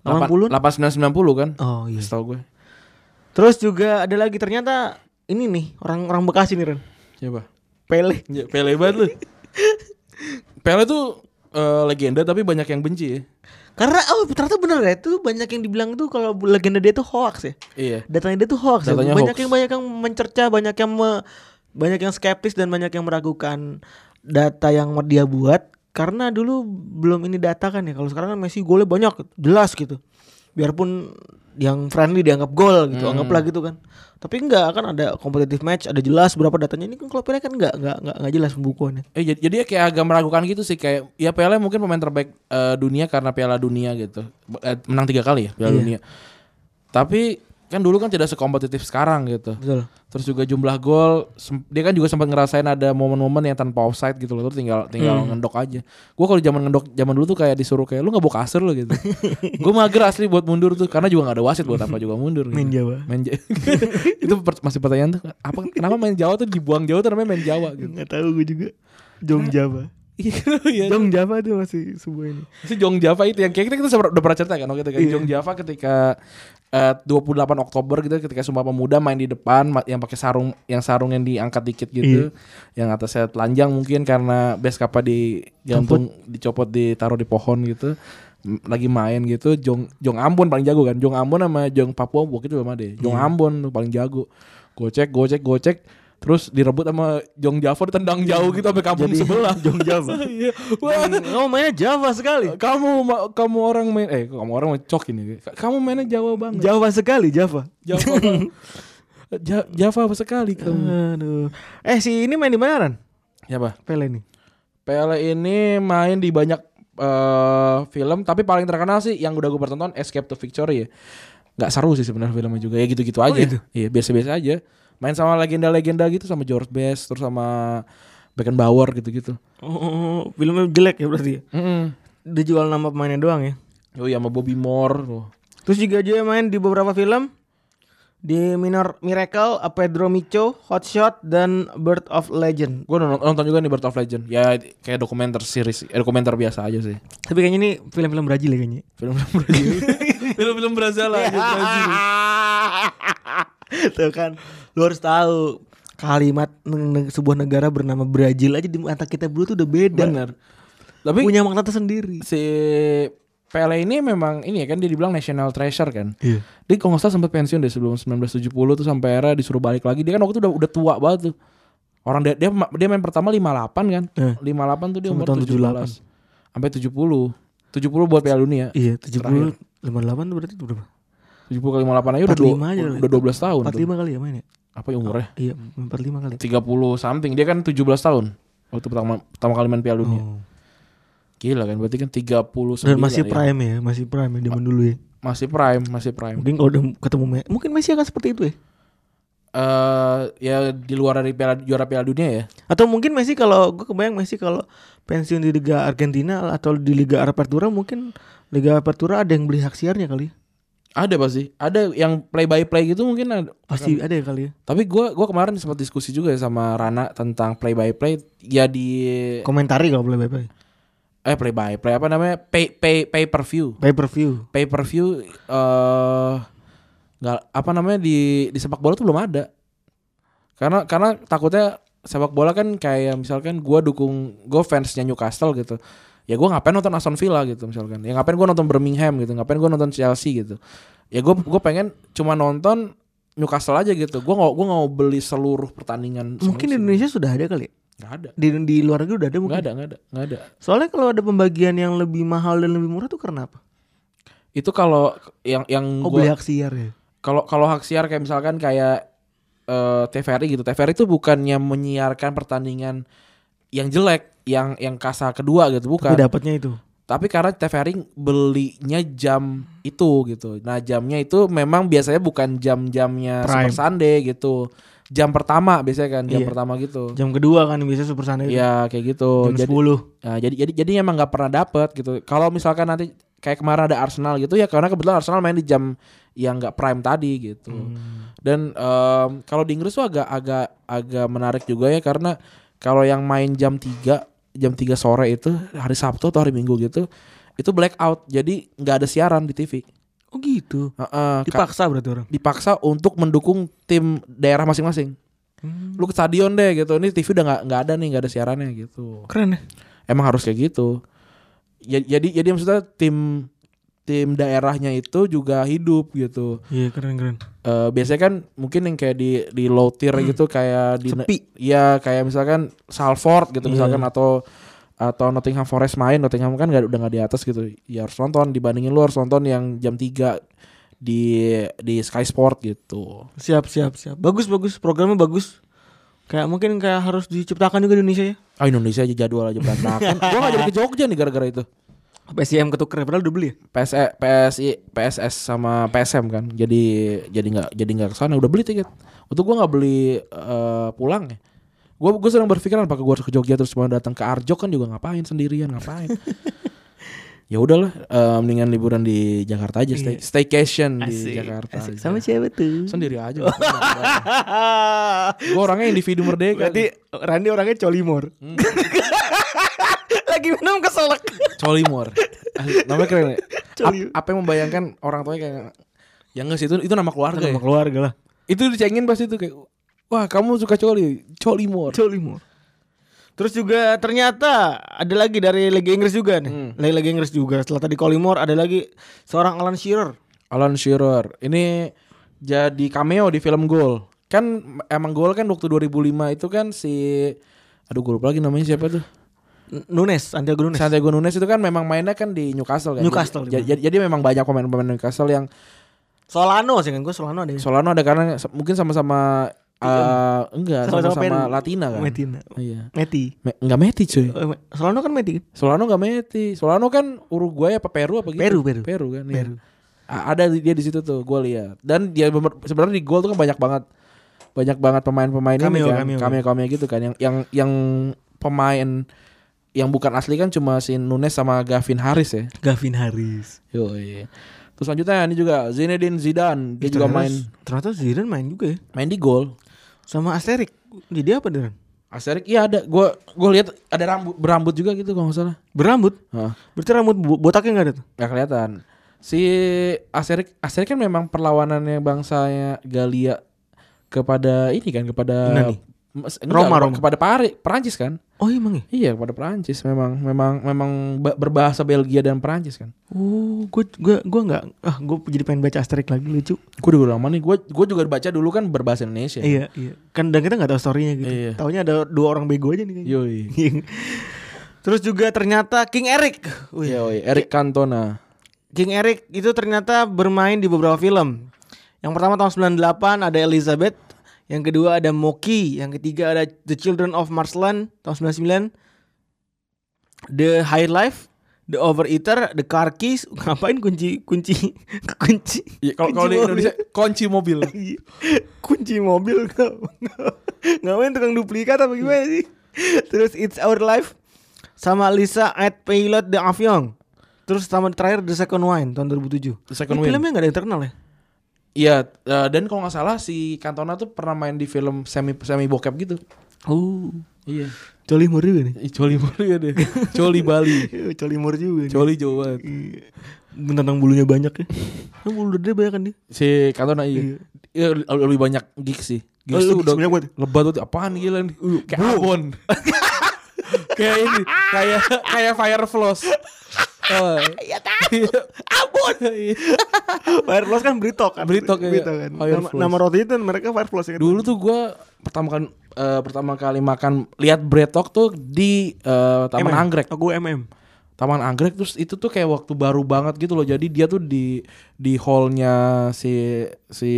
[SPEAKER 3] 80-an?
[SPEAKER 2] 89 90 kan
[SPEAKER 3] Oh iya.
[SPEAKER 2] setahu gue
[SPEAKER 3] Terus juga ada lagi ternyata ini nih orang orang Bekasi nih Ren.
[SPEAKER 2] coba
[SPEAKER 3] Pele.
[SPEAKER 2] ya, Pele banget lu Pele tuh eh, legenda tapi banyak yang benci ya
[SPEAKER 3] Karena oh ternyata bener ya itu banyak yang dibilang tuh kalau legenda dia tuh hoax ya.
[SPEAKER 2] iya
[SPEAKER 3] Datanya dia tuh hoax. ya.
[SPEAKER 2] Datanya
[SPEAKER 3] Banyak
[SPEAKER 2] hoax.
[SPEAKER 3] yang banyak yang mencerca, banyak yang me- banyak yang skeptis dan banyak yang meragukan data yang dia buat karena dulu belum ini data kan ya. Kalau sekarang kan Messi golnya banyak, jelas gitu. Biarpun yang friendly dianggap gol
[SPEAKER 2] Hmm.
[SPEAKER 3] gitu, anggaplah gitu kan. Tapi enggak kan ada kompetitif match, ada jelas berapa datanya ini kan kalau Pele kan enggak enggak enggak, enggak jelas pembukuannya.
[SPEAKER 2] eh jadi, jadi kayak agak meragukan gitu sih kayak ya Pele mungkin pemain terbaik eh, dunia karena Piala Dunia gitu Eh, menang tiga kali ya
[SPEAKER 3] Iya.
[SPEAKER 2] Piala Dunia tapi kan dulu kan tidak sekompetitif sekarang gitu
[SPEAKER 3] Betul.
[SPEAKER 2] Terus juga jumlah gol, sem- dia kan juga sempat ngerasain ada momen-momen yang tanpa offside gitu loh. Terus tinggal tinggal
[SPEAKER 3] Hmm.
[SPEAKER 2] ngendok aja. Gua kalau zaman ngendok zaman dulu tuh kayak disuruh kayak lu nggak bawa kasur lo gitu. Gue mager asli buat mundur tuh karena juga nggak ada wasit buat apa juga mundur. Gitu.
[SPEAKER 3] Main Jawa.
[SPEAKER 2] Main Ja- itu per- masih pertanyaan tuh apa kenapa main Jawa tuh dibuang Jawa tuh namanya main Jawa gitu.
[SPEAKER 3] Enggak tahu gue juga. Jong Java.
[SPEAKER 2] Iya.
[SPEAKER 3] Jong Java tuh masih sebuah ini.
[SPEAKER 2] Si Jong Java itu yang kayak kita, kita udah pernah cerita kan waktu itu kan
[SPEAKER 3] Iya.
[SPEAKER 2] Jong Java ketika eh, 28 Oktober gitu ketika Sumpah Pemuda main di depan ma- yang pakai sarung yang sarung yang diangkat dikit gitu yang atasnya telanjang mungkin karena base capa di gantung dicopot ditaruh di pohon gitu M- lagi main gitu Jong Jong Ambon paling jago kan Jong Ambon sama Jong Papua waktu itu sama deh Jong Ambon tuh paling jago gocek gocek gocek terus direbut sama Jong Java ditendang jauh gitu sampai kampung sebelah
[SPEAKER 3] Jong Java.
[SPEAKER 2] Iya. Wah,
[SPEAKER 3] Kamu mainnya Java sekali.
[SPEAKER 2] kamu ma- kamu orang main eh kamu orang main cok ini Ka- kamu mainnya Jawa banget
[SPEAKER 3] Java sekali Java.
[SPEAKER 2] Jawa banget. Ja- Java apa sekali kamu
[SPEAKER 3] Aduh. Eh
[SPEAKER 2] Ya,
[SPEAKER 3] si ini main di mana Ran?
[SPEAKER 2] siapa
[SPEAKER 3] Pele nih.
[SPEAKER 2] Pele ini main di banyak eh, film tapi paling terkenal sih yang udah gue pertonton Escape to Victory ya. Nggak seru sih sebenarnya filmnya juga ya gitu-gitu aja. Iya biasa-biasa aja. Main sama legenda-legenda gitu sama George Best terus sama Beckenbauer gitu-gitu.
[SPEAKER 3] Oh, oh, oh, filmnya jelek ya berarti. ya?
[SPEAKER 2] Mm-mm.
[SPEAKER 3] Dia jual nama pemainnya doang ya.
[SPEAKER 2] Oh iya sama Bobby Moore tuh.
[SPEAKER 3] Terus juga dia main di beberapa film di Minor Miracle, A Pedro Micho, Hot Shot, dan Bird of Legend.
[SPEAKER 2] Gue nonton, nonton juga nih Birth of Legend. Ya kayak dokumenter series, eh, dokumenter biasa aja sih.
[SPEAKER 3] Tapi kayaknya ini film-film Brazil ya kayaknya.
[SPEAKER 2] Film-film Brazil. Film-film Brazil lah. gitu, Brazil.
[SPEAKER 3] Tuh kan, lu harus tahu kalimat neg- neg- sebuah negara bernama Brazil aja di mata kita dulu tuh udah beda.
[SPEAKER 2] Bener. Tapi
[SPEAKER 3] Punya makna tersendiri.
[SPEAKER 2] si Pele ini memang ini ya kan dia dibilang national treasure kan. Dia kalau nggak salah sempat pensiun deh sebelum 1970 tuh sampai era disuruh balik lagi. Dia kan waktu itu udah udah tua banget tuh. Orang dia dia, dia main pertama 58 kan.
[SPEAKER 3] Eh.
[SPEAKER 2] 58 tuh dia
[SPEAKER 3] Sampai
[SPEAKER 2] umur
[SPEAKER 3] tahun
[SPEAKER 2] 17. Sampai 70. 70 buat Piala Dunia.
[SPEAKER 3] Iya, 70 58 tuh berarti berapa?
[SPEAKER 2] 70 kali 58 aja udah
[SPEAKER 3] 45 aja
[SPEAKER 2] dua- udah 12 tahun. tuh.
[SPEAKER 3] 45 kali ya main ya?
[SPEAKER 2] Apa ya umurnya?
[SPEAKER 3] Iya, 45 kali.
[SPEAKER 2] 30 something. Dia kan 17 tahun. Waktu pertama pertama kali main Piala Dunia.
[SPEAKER 3] Oh.
[SPEAKER 2] Gila kan berarti kan 39
[SPEAKER 3] Dan masih
[SPEAKER 2] ya.
[SPEAKER 3] prime ya, masih prime ya zaman dulu ya.
[SPEAKER 2] Masih prime, masih prime.
[SPEAKER 3] Mungkin kalau udah ketemu Me- mungkin Messi akan seperti itu ya.
[SPEAKER 2] eh ya di luar dari piala, juara Piala Dunia ya.
[SPEAKER 3] Atau mungkin Messi kalau gue kebayang Messi kalau pensiun di Liga Argentina atau di Liga Apertura mungkin Liga Apertura ada yang beli hak siarnya kali. ya.
[SPEAKER 2] Ada pasti. Ada yang play by play gitu mungkin ada.
[SPEAKER 3] Pasti ada ya kali ya.
[SPEAKER 2] Tapi gua gua kemarin sempat diskusi juga ya sama Rana tentang play by play ya di
[SPEAKER 3] Komentari kalau boleh baik
[SPEAKER 2] eh play by play apa namanya? pay pay pay per view.
[SPEAKER 3] Pay per view.
[SPEAKER 2] Pay per view eh nggak apa namanya di di sepak bola tuh belum ada. Karena karena takutnya sepak bola kan kayak misalkan gua dukung gue fansnya Newcastle gitu. Ya gua ngapain nonton Aston Villa gitu misalkan. Ya ngapain gua nonton Birmingham gitu. Ngapain gua nonton Chelsea gitu. Ya gua gua pengen cuma nonton Newcastle aja gitu. Gua nggak gua nggak mau beli seluruh pertandingan.
[SPEAKER 3] Mungkin di Indonesia sudah ada kali. ya.
[SPEAKER 2] Gak ada.
[SPEAKER 3] Di di luar negeri udah ada mungkin.
[SPEAKER 2] Gak ada, gak ada, gak ada.
[SPEAKER 3] Soalnya kalau ada pembagian yang lebih mahal dan lebih murah tuh karena apa?
[SPEAKER 2] Itu kalau yang yang
[SPEAKER 3] Oh
[SPEAKER 2] gua-
[SPEAKER 3] beli hak siar ya.
[SPEAKER 2] kalau kalau hak siar kayak misalkan kayak eh, TVRI gitu. TVRI itu bukannya menyiarkan pertandingan yang jelek, yang yang kasa kedua gitu, bukan.
[SPEAKER 3] Tapi dapatnya itu.
[SPEAKER 2] Tapi karena TVRI belinya jam itu gitu. Nah, jamnya itu memang biasanya bukan jam-jamnya
[SPEAKER 3] Prime.
[SPEAKER 2] Super Sunday gitu. Jam pertama biasanya kan, jam
[SPEAKER 3] Iya.
[SPEAKER 2] pertama gitu.
[SPEAKER 3] Jam kedua kan biasanya Super Sunday. itu.
[SPEAKER 2] Iya, kayak gitu.
[SPEAKER 3] Jam
[SPEAKER 2] Jadi-
[SPEAKER 3] 10.
[SPEAKER 2] Nah, jadi jadi jadi emang nggak pernah dapet gitu. Kalau misalkan nanti kayak kemarin ada Arsenal gitu ya karena kebetulan Arsenal main di jam yang nggak prime tadi gitu.
[SPEAKER 3] Hmm.
[SPEAKER 2] Dan em, kalau di Inggris tuh agak agak agak menarik juga ya karena kalau yang main jam 3 jam 3 sore itu hari Sabtu atau hari Minggu gitu itu blackout. Jadi nggak ada siaran di TV.
[SPEAKER 3] Oh gitu.
[SPEAKER 2] Heeh, ka-
[SPEAKER 3] Dipaksa berarti orang.
[SPEAKER 2] dipaksa untuk mendukung tim daerah masing-masing.
[SPEAKER 3] Hmm.
[SPEAKER 2] Lu ke stadion deh gitu. Ini TV udah nggak nggak ada nih nggak ada siarannya gitu
[SPEAKER 3] Keren ya.
[SPEAKER 2] emang harus kayak gitu. Ya- Jadi jadi maksudnya tim tim daerahnya itu juga hidup gitu.
[SPEAKER 3] Iya keren keren.
[SPEAKER 2] Eh biasanya kan mungkin yang kayak di di low tier gitu kayak di
[SPEAKER 3] Sepi.
[SPEAKER 2] Iya kayak misalkan Salford gitu misalkan atau atau Nottingham Forest main Nottingham kan nggak udah nggak di atas gitu ya harus nonton dibandingin lu harus nonton yang jam 3 di di Sky Sport gitu
[SPEAKER 3] Siap siap siap. Bagus bagus programnya bagus. Kayak mungkin kayak harus diciptakan juga di Indonesia ya.
[SPEAKER 2] ah Indonesia aja jadwal aja berantakan gua nggak jadi ke Jogja nih gara-gara itu
[SPEAKER 3] PSIM ketuker ya, padahal udah beli ya.
[SPEAKER 2] PS PSI PSS sama PSM kan jadi jadi nggak jadi nggak kesana udah beli tiket untuk gua nggak beli eh, pulang ya gue gue sedang berpikiran apakah gue harus ke Jogja terus cuma datang ke Arjok kan juga ngapain sendirian ngapain ya udahlah eh, mendingan liburan di Jakarta aja stay, staycation di Jakarta aja.
[SPEAKER 3] Iya. Sama siapa tuh?
[SPEAKER 2] sendiri aja gue orangnya individu merdeka
[SPEAKER 3] Berarti Randy orangnya colimor. Hmm. Lagi minum keselak.
[SPEAKER 2] Colimor. Asli, namanya keren ya.
[SPEAKER 3] Colimor.
[SPEAKER 2] Ap- apa yang membayangkan orang tuanya kayak yang enggak sih itu itu nama keluarga ya?
[SPEAKER 3] Sama keluarga lah.
[SPEAKER 2] Itu dicengin pasti itu kayak wah kamu suka coli, colimor.
[SPEAKER 3] Colimor. Terus juga ternyata ada lagi dari Liga Inggris juga nih.
[SPEAKER 2] Hmm.
[SPEAKER 3] Lagi Liga Inggris juga. Setelah tadi Colimor ada lagi seorang Alan Shearer.
[SPEAKER 2] Alan Shearer. Ini jadi cameo di film Goal. Kan emang Goal kan waktu 2005 itu kan si aduh gue lupa lagi namanya siapa tuh.
[SPEAKER 3] N- Nunes, Santiago Nunes.
[SPEAKER 2] Santiago Nunes itu kan memang mainnya kan di Newcastle kan.
[SPEAKER 3] Newcastle,
[SPEAKER 2] Jadi, jadi, jadi memang banyak pemain-pemain Newcastle yang
[SPEAKER 3] Solano sih kan gue Solano ada. ya.
[SPEAKER 2] Solano ada karena se- mungkin sama-sama eh,
[SPEAKER 3] Iya.
[SPEAKER 2] enggak
[SPEAKER 3] Sama-sama
[SPEAKER 2] sama-sama
[SPEAKER 3] pengen-
[SPEAKER 2] Latina kan?
[SPEAKER 3] Latina.
[SPEAKER 2] Iya.
[SPEAKER 3] Meti.
[SPEAKER 2] Me- enggak Meti cuy.
[SPEAKER 3] Eh, Me- Solano kan Meti.
[SPEAKER 2] Solano enggak Meti. Solano kan Uruguay apa Peru apa gitu?
[SPEAKER 3] Peru, Peru.
[SPEAKER 2] Peru kan. iya.
[SPEAKER 3] Peru.
[SPEAKER 2] A- Ada di- dia di situ tuh, gue lihat. Dan dia bemer- sebenarnya di gol tuh kan banyak banget banyak banget pemain-pemain ini
[SPEAKER 3] Cameo,
[SPEAKER 2] kan,
[SPEAKER 3] cameo.
[SPEAKER 2] cameo-cameo gitu kan yang yang yang pemain yang bukan asli kan cuma si Nunes sama Gavin Harris ya.
[SPEAKER 3] Gavin Harris.
[SPEAKER 2] Yo, Terus selanjutnya ini juga Zinedine Zidane, dia juga main
[SPEAKER 3] Ternyata Zidane main juga ya.
[SPEAKER 2] main di gol.
[SPEAKER 3] Sama Asterik. Jadi apa Deran?
[SPEAKER 2] Asterik iya ada. Gua gua lihat ada rambut berambut juga gitu kalau nggak salah.
[SPEAKER 3] Berambut.
[SPEAKER 2] Heeh.
[SPEAKER 3] Berarti rambut bo- botaknya nggak ada tuh.
[SPEAKER 2] Gak kelihatan. Si Asterik Asterik kan memang perlawanannya bangsanya Galia kepada ini kan kepada
[SPEAKER 3] Yunani.
[SPEAKER 2] Mes-
[SPEAKER 3] Roma, Roma.
[SPEAKER 2] kepada Pari, Perancis kan?
[SPEAKER 3] Oh emang ya?
[SPEAKER 2] Iya, kepada Perancis memang memang memang ba- berbahasa Belgia dan Perancis kan.
[SPEAKER 3] Oh, gue gue gue nggak ah gue jadi pengen baca Asterik lagi lucu.
[SPEAKER 2] Gue udah lama nih. Gue gue juga baca dulu kan berbahasa Indonesia.
[SPEAKER 3] Iya iya. Kan dan kita nggak tahu storynya gitu.
[SPEAKER 2] Iya.
[SPEAKER 3] Taunya ada dua orang bego aja nih. kayaknya.
[SPEAKER 2] Yoi.
[SPEAKER 3] Terus juga ternyata King Eric. Wih,
[SPEAKER 2] Yoi, Eric Cantona.
[SPEAKER 3] King Eric itu ternyata bermain di beberapa film. Yang pertama tahun 98 ada Elizabeth, yang kedua ada Moki, yang ketiga ada The Children of Marsland tahun 99. The High Life, The Overeater, The Car Keys, ngapain kunci kunci kunci.
[SPEAKER 2] Iya, kalau kalau di
[SPEAKER 3] kunci
[SPEAKER 2] Indonesia kunci mobil.
[SPEAKER 3] Iya. kunci mobil nggak ngapain tukang duplikat apa gimana sih terus it's our life sama Lisa at Pilot de Avion terus sama terakhir The Second Wine tahun 2007
[SPEAKER 2] The Second
[SPEAKER 3] Ini
[SPEAKER 2] Wine.
[SPEAKER 3] filmnya nggak ada internal ya
[SPEAKER 2] Iya, eh, dan kalau nggak salah si Cantona tuh pernah main di film semi semi bokep gitu.
[SPEAKER 3] oh
[SPEAKER 2] Iya.
[SPEAKER 3] Coli Mur juga nih
[SPEAKER 2] Coli Bali ya deh. Coli Bali.
[SPEAKER 3] Eh, Coli Mur juga nih
[SPEAKER 2] Coli Jawa. Barat.
[SPEAKER 3] Iya. Tentang bulunya banyak ya Kan bulu dia banyak kan dia
[SPEAKER 2] Si Cantona iya. Iya, lebih banyak gig sih. Gigs
[SPEAKER 3] Oh,
[SPEAKER 2] tuh
[SPEAKER 3] gigs
[SPEAKER 2] udah
[SPEAKER 3] banyak banget. Uh,
[SPEAKER 2] lebat tuh apaan gila nih. Kayak abon. kayak ini, kayak kayak fire floss. Oh,
[SPEAKER 3] Iya tahu Abon
[SPEAKER 2] Iya.
[SPEAKER 3] Firefloss kan Britok kan
[SPEAKER 2] Britok, iya.
[SPEAKER 3] Britok kan nama,
[SPEAKER 2] Firefloss.
[SPEAKER 3] nama roti itu mereka Firefloss ya kan
[SPEAKER 2] Dulu tuh gue pertama kan eh, pertama kali makan lihat bretok tuh di eh, Taman
[SPEAKER 3] MM.
[SPEAKER 2] Anggrek.
[SPEAKER 3] Aku MM
[SPEAKER 2] Taman Anggrek terus itu tuh kayak waktu baru banget gitu loh. Jadi dia tuh di di hallnya si si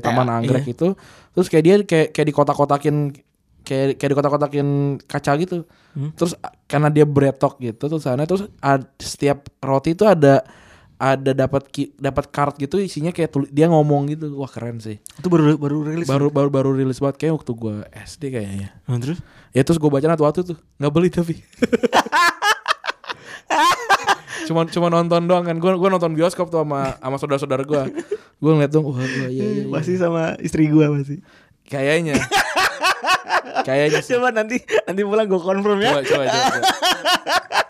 [SPEAKER 2] Taman
[SPEAKER 3] Eh,
[SPEAKER 2] Anggrek itu terus kayak dia kayak kayak dikotak-kotakin kayak kayak dikotak-kotakin kaca gitu. Terus a- karena dia bretok gitu terus sana terus ad- setiap roti itu ada ada dapat ki- dapat card gitu isinya kayak tuli- dia ngomong gitu. Wah, keren sih.
[SPEAKER 3] Itu baru baru rilis.
[SPEAKER 2] Baru baru baru rilis banget kayak waktu gua SD kayaknya.
[SPEAKER 3] Nah, terus
[SPEAKER 2] Ya terus gue baca waktu tuh nggak beli tapi. cuman cuma nonton doang kan. Gue gua nonton bioskop tuh sama sama saudara-saudara gue. Gue ngeliat dong, wah gua, iya, iya, iya.
[SPEAKER 3] masih sama istri gua masih.
[SPEAKER 2] Kayaknya. Kayaknya sih.
[SPEAKER 3] Coba nanti nanti pulang gua confirm ya.
[SPEAKER 2] Coba, coba, coba, coba.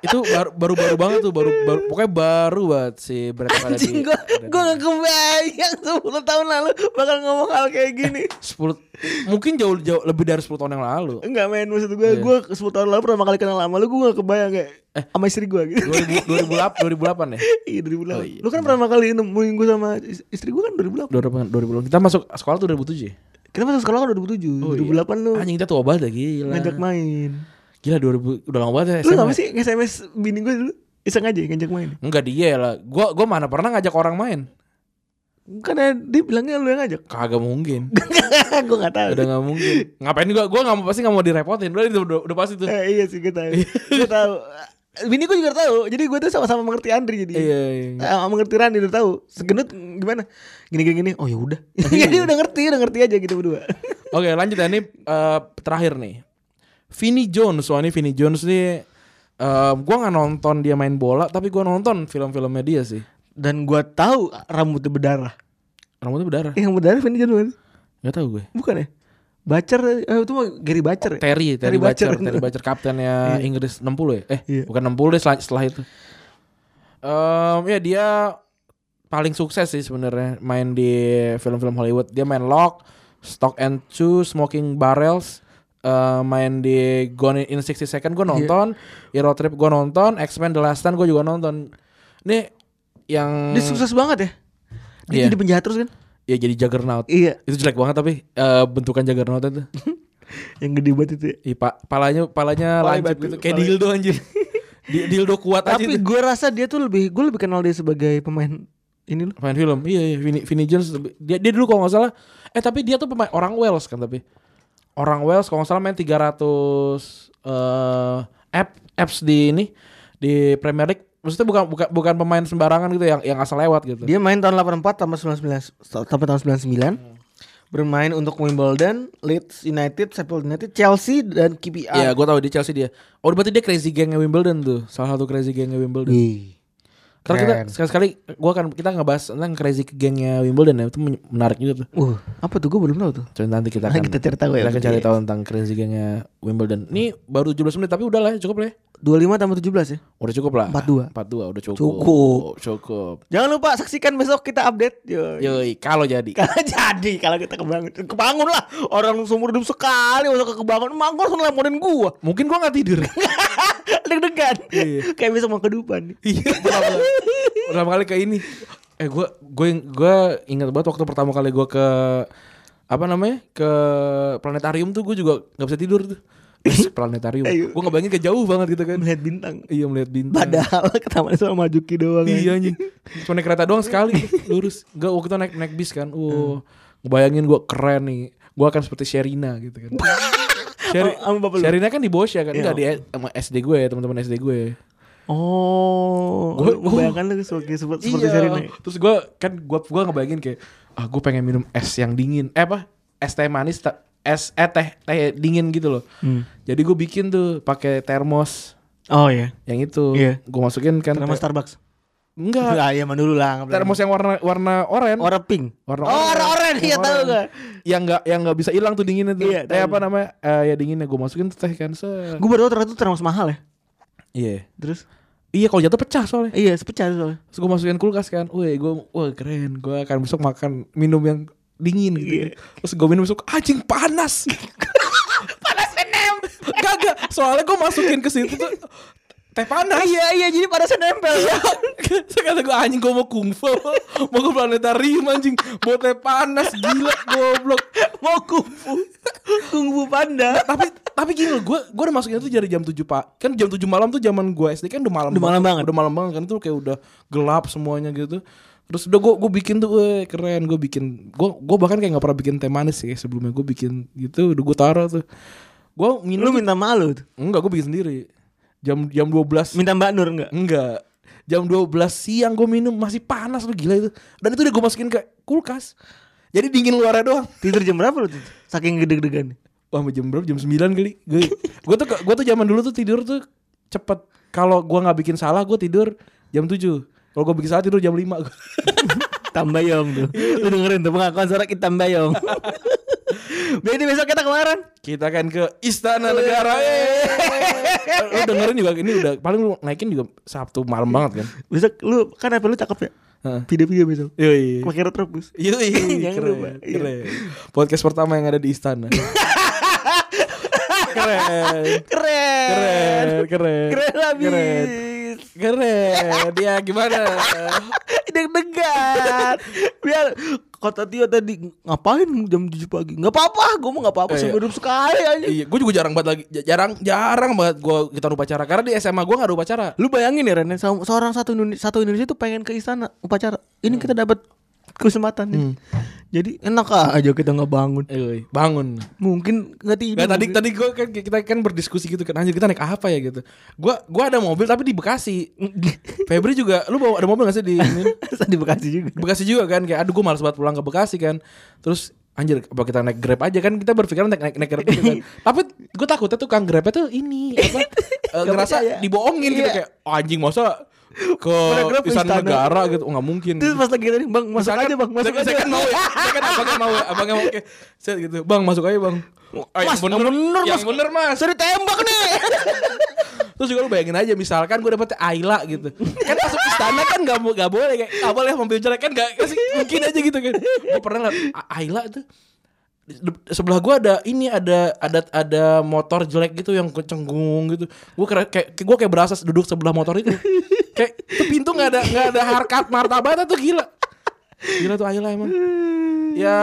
[SPEAKER 2] Itu baru baru baru banget tuh baru, baru pokoknya baru banget si Brad Pitt ada di.
[SPEAKER 3] Anjing gua
[SPEAKER 2] ada di-
[SPEAKER 3] gua gak kebayang 10 tahun lalu bakal ngomong hal kayak gini.
[SPEAKER 2] 10 mungkin jauh jauh lebih dari 10 tahun yang lalu.
[SPEAKER 3] Enggak main maksud gua,
[SPEAKER 2] Iya.
[SPEAKER 3] gua 10 tahun lalu pertama kali kenal sama lu gua gak kebayang kayak
[SPEAKER 2] Eh.
[SPEAKER 3] sama istri gua gitu.
[SPEAKER 2] 2000 2008 2008 ya.
[SPEAKER 3] Iya 2008. Lu kan pertama kali nemuin gua sama is- istri gua kan 2008.
[SPEAKER 2] 2008 2008. Kita masuk sekolah tuh 2007 ya.
[SPEAKER 3] Kita masuk sekolah kan 2007. 2008 lu
[SPEAKER 2] Oh, iya. Anjing kita tua banget ya, gila.
[SPEAKER 3] ngajak main.
[SPEAKER 2] Gila 2000 udah lama banget ya
[SPEAKER 3] Lu
[SPEAKER 2] SMA.
[SPEAKER 3] gak sih nge-SMS bini gua dulu? Iseng aja ngajak main.
[SPEAKER 2] Enggak dia lah. Gua gua mana pernah ngajak orang main?
[SPEAKER 3] Karena dia bilangnya lu yang ngajak.
[SPEAKER 2] Kagak mungkin.
[SPEAKER 3] gua gak tahu.
[SPEAKER 2] Udah nggak mungkin. Ngapain gua gua nggak mau pasti nggak mau direpotin. Udah itu udah, udah pasti tuh.
[SPEAKER 3] Eh, iya sih gue tahu. gue tahu. Bini gue juga tahu. Jadi gue tuh sama-sama mengerti Andri jadi. Eh,
[SPEAKER 2] Iya, iya.
[SPEAKER 3] Sama mengerti Rani udah tahu. Segenut gimana? Gini gini gini. Oh ya udah. jadi udah ngerti, udah ngerti aja gitu berdua.
[SPEAKER 2] Oke, lanjut ya ini eh, terakhir nih. Vinny Jones, wah ini Vinny Jones nih eh gua nggak nonton dia main bola, tapi gua nonton film-filmnya dia sih.
[SPEAKER 3] Dan gue tahu rambutnya berdarah.
[SPEAKER 2] Rambutnya berdarah.
[SPEAKER 3] Iya, Yang berdarah Vini Jodoh
[SPEAKER 2] Gak tahu gue.
[SPEAKER 3] bukan ya? Bacer eh, itu mah Gary Bacer ya?
[SPEAKER 2] Terry, Terry Bacher,
[SPEAKER 3] Bacer.
[SPEAKER 2] Terry Bacher kaptennya Inggris 60 ya? Eh,
[SPEAKER 3] Iya.
[SPEAKER 2] bukan 60 deh setelah, setelah itu. Em, ya dia paling sukses sih sebenarnya main di film-film Hollywood. Dia main Lock, Stock and Two, Smoking Barrels, eh, main di Gone in 60
[SPEAKER 3] Iya.
[SPEAKER 2] Second gue nonton, Hero Trip gue nonton, X-Men The Last Stand gue juga nonton. Nih yang
[SPEAKER 3] Dia sukses banget ya. Dia
[SPEAKER 2] Iya.
[SPEAKER 3] jadi penjahat terus kan?
[SPEAKER 2] ya jadi Juggernaut.
[SPEAKER 3] Iya.
[SPEAKER 2] Itu jelek banget tapi eh, bentukan Juggernaut itu.
[SPEAKER 3] Yang gede banget itu. ya.
[SPEAKER 2] Iya, pa- palanya palanya
[SPEAKER 3] Palanya
[SPEAKER 2] lancip
[SPEAKER 3] batu,
[SPEAKER 2] gitu kayak
[SPEAKER 3] palanya-
[SPEAKER 2] dildo anjir. Di- dildo kuat aja
[SPEAKER 3] Tapi
[SPEAKER 2] itu.
[SPEAKER 3] gue rasa dia tuh lebih gue lebih kenal dia sebagai pemain ini loh.
[SPEAKER 2] Pemain film. Iya, iya. Vinny, Vinny Jones. lebih- Dia, dia dulu kalau nggak salah. Eh tapi dia tuh pemain orang Wales kan tapi. Orang Wales kalau nggak salah main 300 eh app apps di ini di Premier League. Maksudnya bukan bukan bukan pemain sembarangan gitu yang yang asal lewat gitu.
[SPEAKER 3] Dia main tahun 84 tambah 99 sampai tahun 99. Bermain untuk Wimbledon, Leeds United, Sheffield United, Chelsea dan
[SPEAKER 2] Iya,
[SPEAKER 3] KPR.
[SPEAKER 2] gue tahu di Chelsea dia. Oh, berarti dia crazy gengnya Wimbledon tuh. Salah satu crazy gengnya Wimbledon.
[SPEAKER 3] Wih.
[SPEAKER 2] Ntar kita
[SPEAKER 3] Iya, keren.
[SPEAKER 2] sekali-sekali gua akan kita ngebahas tentang crazy gengnya Wimbledon ya. Itu men- menarik juga tuh.
[SPEAKER 3] Uh, apa tuh gue belum tahu tuh.
[SPEAKER 2] Coba nanti kita akan
[SPEAKER 3] Nanti kita cari tahu ya,
[SPEAKER 2] Kita akan
[SPEAKER 3] berarti
[SPEAKER 2] cari
[SPEAKER 3] ya.
[SPEAKER 2] tahu tentang crazy gengnya Wimbledon. Ini baru 17 menit tapi udah lah, ya, cukup lah. ya.
[SPEAKER 3] 25 tambah 17 ya.
[SPEAKER 2] Udah cukup lah.
[SPEAKER 3] 42.
[SPEAKER 2] 42 udah cukup.
[SPEAKER 3] Cukup.
[SPEAKER 2] Cukup.
[SPEAKER 3] Jangan lupa saksikan besok kita update. Yo.
[SPEAKER 2] Yoi, kalau jadi.
[SPEAKER 3] Kalau jadi kalau kita kebangun, kebangun lah. Orang seumur hidup sekali masa kebangun, emang gue langsung nelponin gua.
[SPEAKER 2] Mungkin gua nggak tidur.
[SPEAKER 3] Deg-degan.
[SPEAKER 2] Iya.
[SPEAKER 3] Kayak besok mau kedupan.
[SPEAKER 2] Iya, berapa, berapa kali ke ini? Eh gue gue gue ingat banget waktu pertama kali gue ke apa namanya ke planetarium tuh gue juga nggak bisa tidur tuh. Terus planetarium.
[SPEAKER 3] Ayo.
[SPEAKER 2] Gue ngebayangin ke jauh banget gitu kan.
[SPEAKER 3] Melihat bintang.
[SPEAKER 2] Iya melihat bintang.
[SPEAKER 3] Padahal ke taman sama Majuki doang.
[SPEAKER 2] Iya anjing. Cuma naik kereta doang sekali lurus. Enggak waktu itu naik naik bis kan. Uh, ngebayangin gue keren nih. Gue akan seperti Sherina gitu kan. Sheri-
[SPEAKER 3] Sama bapak lu?
[SPEAKER 2] Sherina kan di Bosya kan.
[SPEAKER 3] Iya.
[SPEAKER 2] Enggak di sama SD gue ya teman-teman SD gue.
[SPEAKER 3] Oh,
[SPEAKER 2] Gua-
[SPEAKER 3] lu bayangkan lu sebagai seperti, seperti
[SPEAKER 2] iya.
[SPEAKER 3] Sherina. ya?
[SPEAKER 2] Terus gue kan gue gua ngebayangin kayak ah gue pengen minum es yang dingin. Eh apa? Es teh manis ta- es eh teh teh dingin gitu loh.
[SPEAKER 3] Hmm.
[SPEAKER 2] Jadi gue bikin tuh pakai termos
[SPEAKER 3] Oh ya.
[SPEAKER 2] yang itu.
[SPEAKER 3] Iya.
[SPEAKER 2] Gue masukin kan Ya.
[SPEAKER 3] Termos
[SPEAKER 2] teh-
[SPEAKER 3] Starbucks.
[SPEAKER 2] Enggak.
[SPEAKER 3] Ah, iya mah dulu lah. nggak
[SPEAKER 2] Termos yang warna warna oranye.
[SPEAKER 3] berani. Ora pink.
[SPEAKER 2] warna
[SPEAKER 3] oh, ora oren. Iya tahu
[SPEAKER 2] gak?
[SPEAKER 3] gak?
[SPEAKER 2] Yang enggak yang enggak bisa hilang tuh dinginnya tuh.
[SPEAKER 3] Iya,
[SPEAKER 2] teh
[SPEAKER 3] tahu.
[SPEAKER 2] apa namanya? Eh, ya dinginnya gue masukin tuh teh kan. set.
[SPEAKER 3] Gue baru tahu ternyata itu termos mahal ya.
[SPEAKER 2] Iya.
[SPEAKER 3] Terus?
[SPEAKER 2] Iya kalau jatuh pecah soalnya.
[SPEAKER 3] Iya, sepecah soalnya.
[SPEAKER 2] Terus gue masukin kulkas kan Wih gue Wah keren Gue akan besok makan Minum yang
[SPEAKER 3] Iya.
[SPEAKER 2] dingin gitu Terus gue minum besok Anjing panas Panas benem Kagak Soalnya gue masukin ke situ tuh Teh panas
[SPEAKER 3] Iya,
[SPEAKER 2] Iya.
[SPEAKER 3] iya jadi panasnya nempel.
[SPEAKER 2] Terus kata gue anjing gue mau kungfu Mau ke planetarium anjing Bawa teh panas Gila goblok
[SPEAKER 3] Mau kungfu. Kungfu panda.
[SPEAKER 2] tapi tapi gini loh gue gue udah masukin itu dari jam 7 pak kan jam 7 malam tuh zaman gue SD kan udah malam
[SPEAKER 3] Udah malam banget.
[SPEAKER 2] udah malam banget kan itu kayak udah gelap semuanya gitu terus udah gue gue bikin tuh eh keren gue bikin gue gue bahkan kayak nggak pernah bikin teh manis sih sebelumnya gue bikin gitu udah gue taruh tuh gue
[SPEAKER 3] Lu
[SPEAKER 2] minum
[SPEAKER 3] minta malu tuh.
[SPEAKER 2] enggak gue bikin sendiri jam jam 12
[SPEAKER 3] Minta Mbak Nur enggak?
[SPEAKER 2] enggak jam 12 siang gue minum masih panas lu gila itu dan itu udah gue masukin ke kulkas jadi dingin luarnya doang
[SPEAKER 3] Tidur jam berapa lu tuh? Saking gede-degan.
[SPEAKER 2] Wah mau jam berapa? Jam 9 kali. Gue gue tuh gue tuh zaman dulu tuh tidur tuh cepet. Kalau gua nggak bikin salah gue tidur jam 7. Kalau gue bikin salah tidur jam 5
[SPEAKER 3] Tambayong tuh. Lu dengerin tuh pengakuan suara kita Tambayong. Berarti besok kita kemarin.
[SPEAKER 2] Kita kan ke Istana Negara. eh. lu dengerin juga ini udah paling lu naikin juga Sabtu malam banget kan.
[SPEAKER 3] Besok lu kan apa lu cakep ya?
[SPEAKER 2] Heeh.
[SPEAKER 3] Video-video besok.
[SPEAKER 2] Yoi.
[SPEAKER 3] Pakai retrobus.
[SPEAKER 2] Yoi.
[SPEAKER 3] Jangan
[SPEAKER 2] keren,
[SPEAKER 3] lupa. Iya.
[SPEAKER 2] Keren. Podcast pertama yang ada di istana. keren.
[SPEAKER 3] Keren.
[SPEAKER 2] Keren, keren.
[SPEAKER 3] Keren
[SPEAKER 2] Keren.
[SPEAKER 3] habis.
[SPEAKER 2] Keren. Dia gimana?
[SPEAKER 3] Deg-degan. Biar kata Tio tadi ngapain jam 7 pagi? Gak apa-apa, gue mau gak apa-apa.
[SPEAKER 2] Iya.
[SPEAKER 3] Seumur hidup sekali aja.
[SPEAKER 2] Iya, gue juga jarang banget lagi, ja- jarang, jarang banget gue kita upacara. Karena di SMA gue gak ada upacara.
[SPEAKER 3] Lu bayangin ya Ren, se- seorang satu Indonesia, satu Indonesia tuh pengen ke istana upacara. Ini kita dapat kesempatan nih. Jadi enak ah, aja kita nggak bangun.
[SPEAKER 2] Eh, bangun.
[SPEAKER 3] Mungkin nggak tidur.
[SPEAKER 2] Nah, tadi
[SPEAKER 3] mungkin.
[SPEAKER 2] tadi gue kan kita kan berdiskusi gitu kan anjir kita naik apa ya gitu. Gua gua ada mobil tapi di Bekasi. Febri juga lu bawa ada mobil gak sih di ini?
[SPEAKER 3] Terus di Bekasi juga.
[SPEAKER 2] Bekasi juga kan kayak aduh gue malas banget pulang ke Bekasi kan. Terus anjir apa kita naik Grab aja kan kita berpikir naik naik, naik Grab gitu kan. Tapi gue takutnya tukang Grabnya tuh ini apa eh,
[SPEAKER 3] Gak
[SPEAKER 2] ngerasa
[SPEAKER 3] percaya.
[SPEAKER 2] dibohongin gitu
[SPEAKER 3] Iya.
[SPEAKER 2] kayak "Oh, anjing masa ke
[SPEAKER 3] Naik Grab ke
[SPEAKER 2] istana
[SPEAKER 3] istana."
[SPEAKER 2] negara gitu Oh, nggak mungkin
[SPEAKER 3] Terus pas lagi tadi, Bang, masuk
[SPEAKER 2] Misalkan-
[SPEAKER 3] aja, Bang, masuk
[SPEAKER 2] saya,
[SPEAKER 3] aja.
[SPEAKER 2] saya kan mau ya saya kan abangnya mau ya abangnya mau oke saya gitu bang masuk aja bang Oh, yang
[SPEAKER 3] Mas, yang bener,
[SPEAKER 2] yang
[SPEAKER 3] Mas.
[SPEAKER 2] bener mas
[SPEAKER 3] Sudah tembak nih.
[SPEAKER 2] terus juga lu bayangin aja misalkan gue dapet Ayla gitu kan masuk istana kan gak, mau, gak boleh kayak gak boleh mobil jelek kan gak kasih mungkin aja gitu kan gue pernah liat A- Ayla tuh di- di- sebelah gue ada ini ada ada ada motor jelek gitu yang kecenggung gitu gue kayak kayak gue kayak berasa duduk sebelah motor itu kayak tuh pintu nggak ada nggak ada harkat martabatnya tuh gila gila tuh Ayla emang ya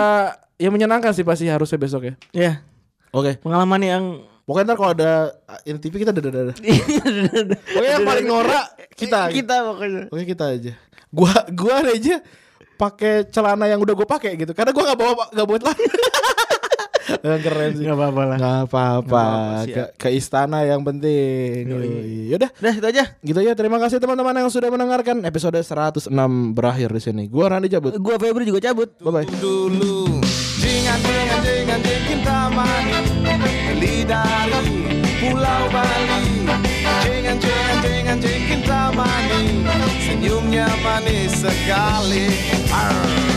[SPEAKER 2] ya menyenangkan sih pasti harusnya besok ya
[SPEAKER 3] ya,
[SPEAKER 2] oke
[SPEAKER 3] pengalaman yang
[SPEAKER 2] pokoknya ntar kalau ada TV kita ada ada ada Pokoknya yang Oh, paling norak kita.
[SPEAKER 3] kita pokoknya.
[SPEAKER 2] Oke kita aja. gua gua aja pakai celana yang udah gue pakai gitu karena gua nggak bawa nggak bawa celana Eh, keren sih
[SPEAKER 3] Nggak apa-apa lah.
[SPEAKER 2] nggak apa-apa
[SPEAKER 3] siap.
[SPEAKER 2] ke, ke istana yang penting Yoi. yaudah
[SPEAKER 3] Udah itu aja.
[SPEAKER 2] gitu ya terima kasih teman-teman yang sudah mendengarkan episode 106 berakhir di sini gua Randy cabut
[SPEAKER 3] Gua Febri juga cabut.
[SPEAKER 2] bye bye
[SPEAKER 5] dulu Jingan jingan jingan jingin taman Beli dari Pulau Bali Jingan jingan jingan jingin taman Senyumnya manis sekali Arr.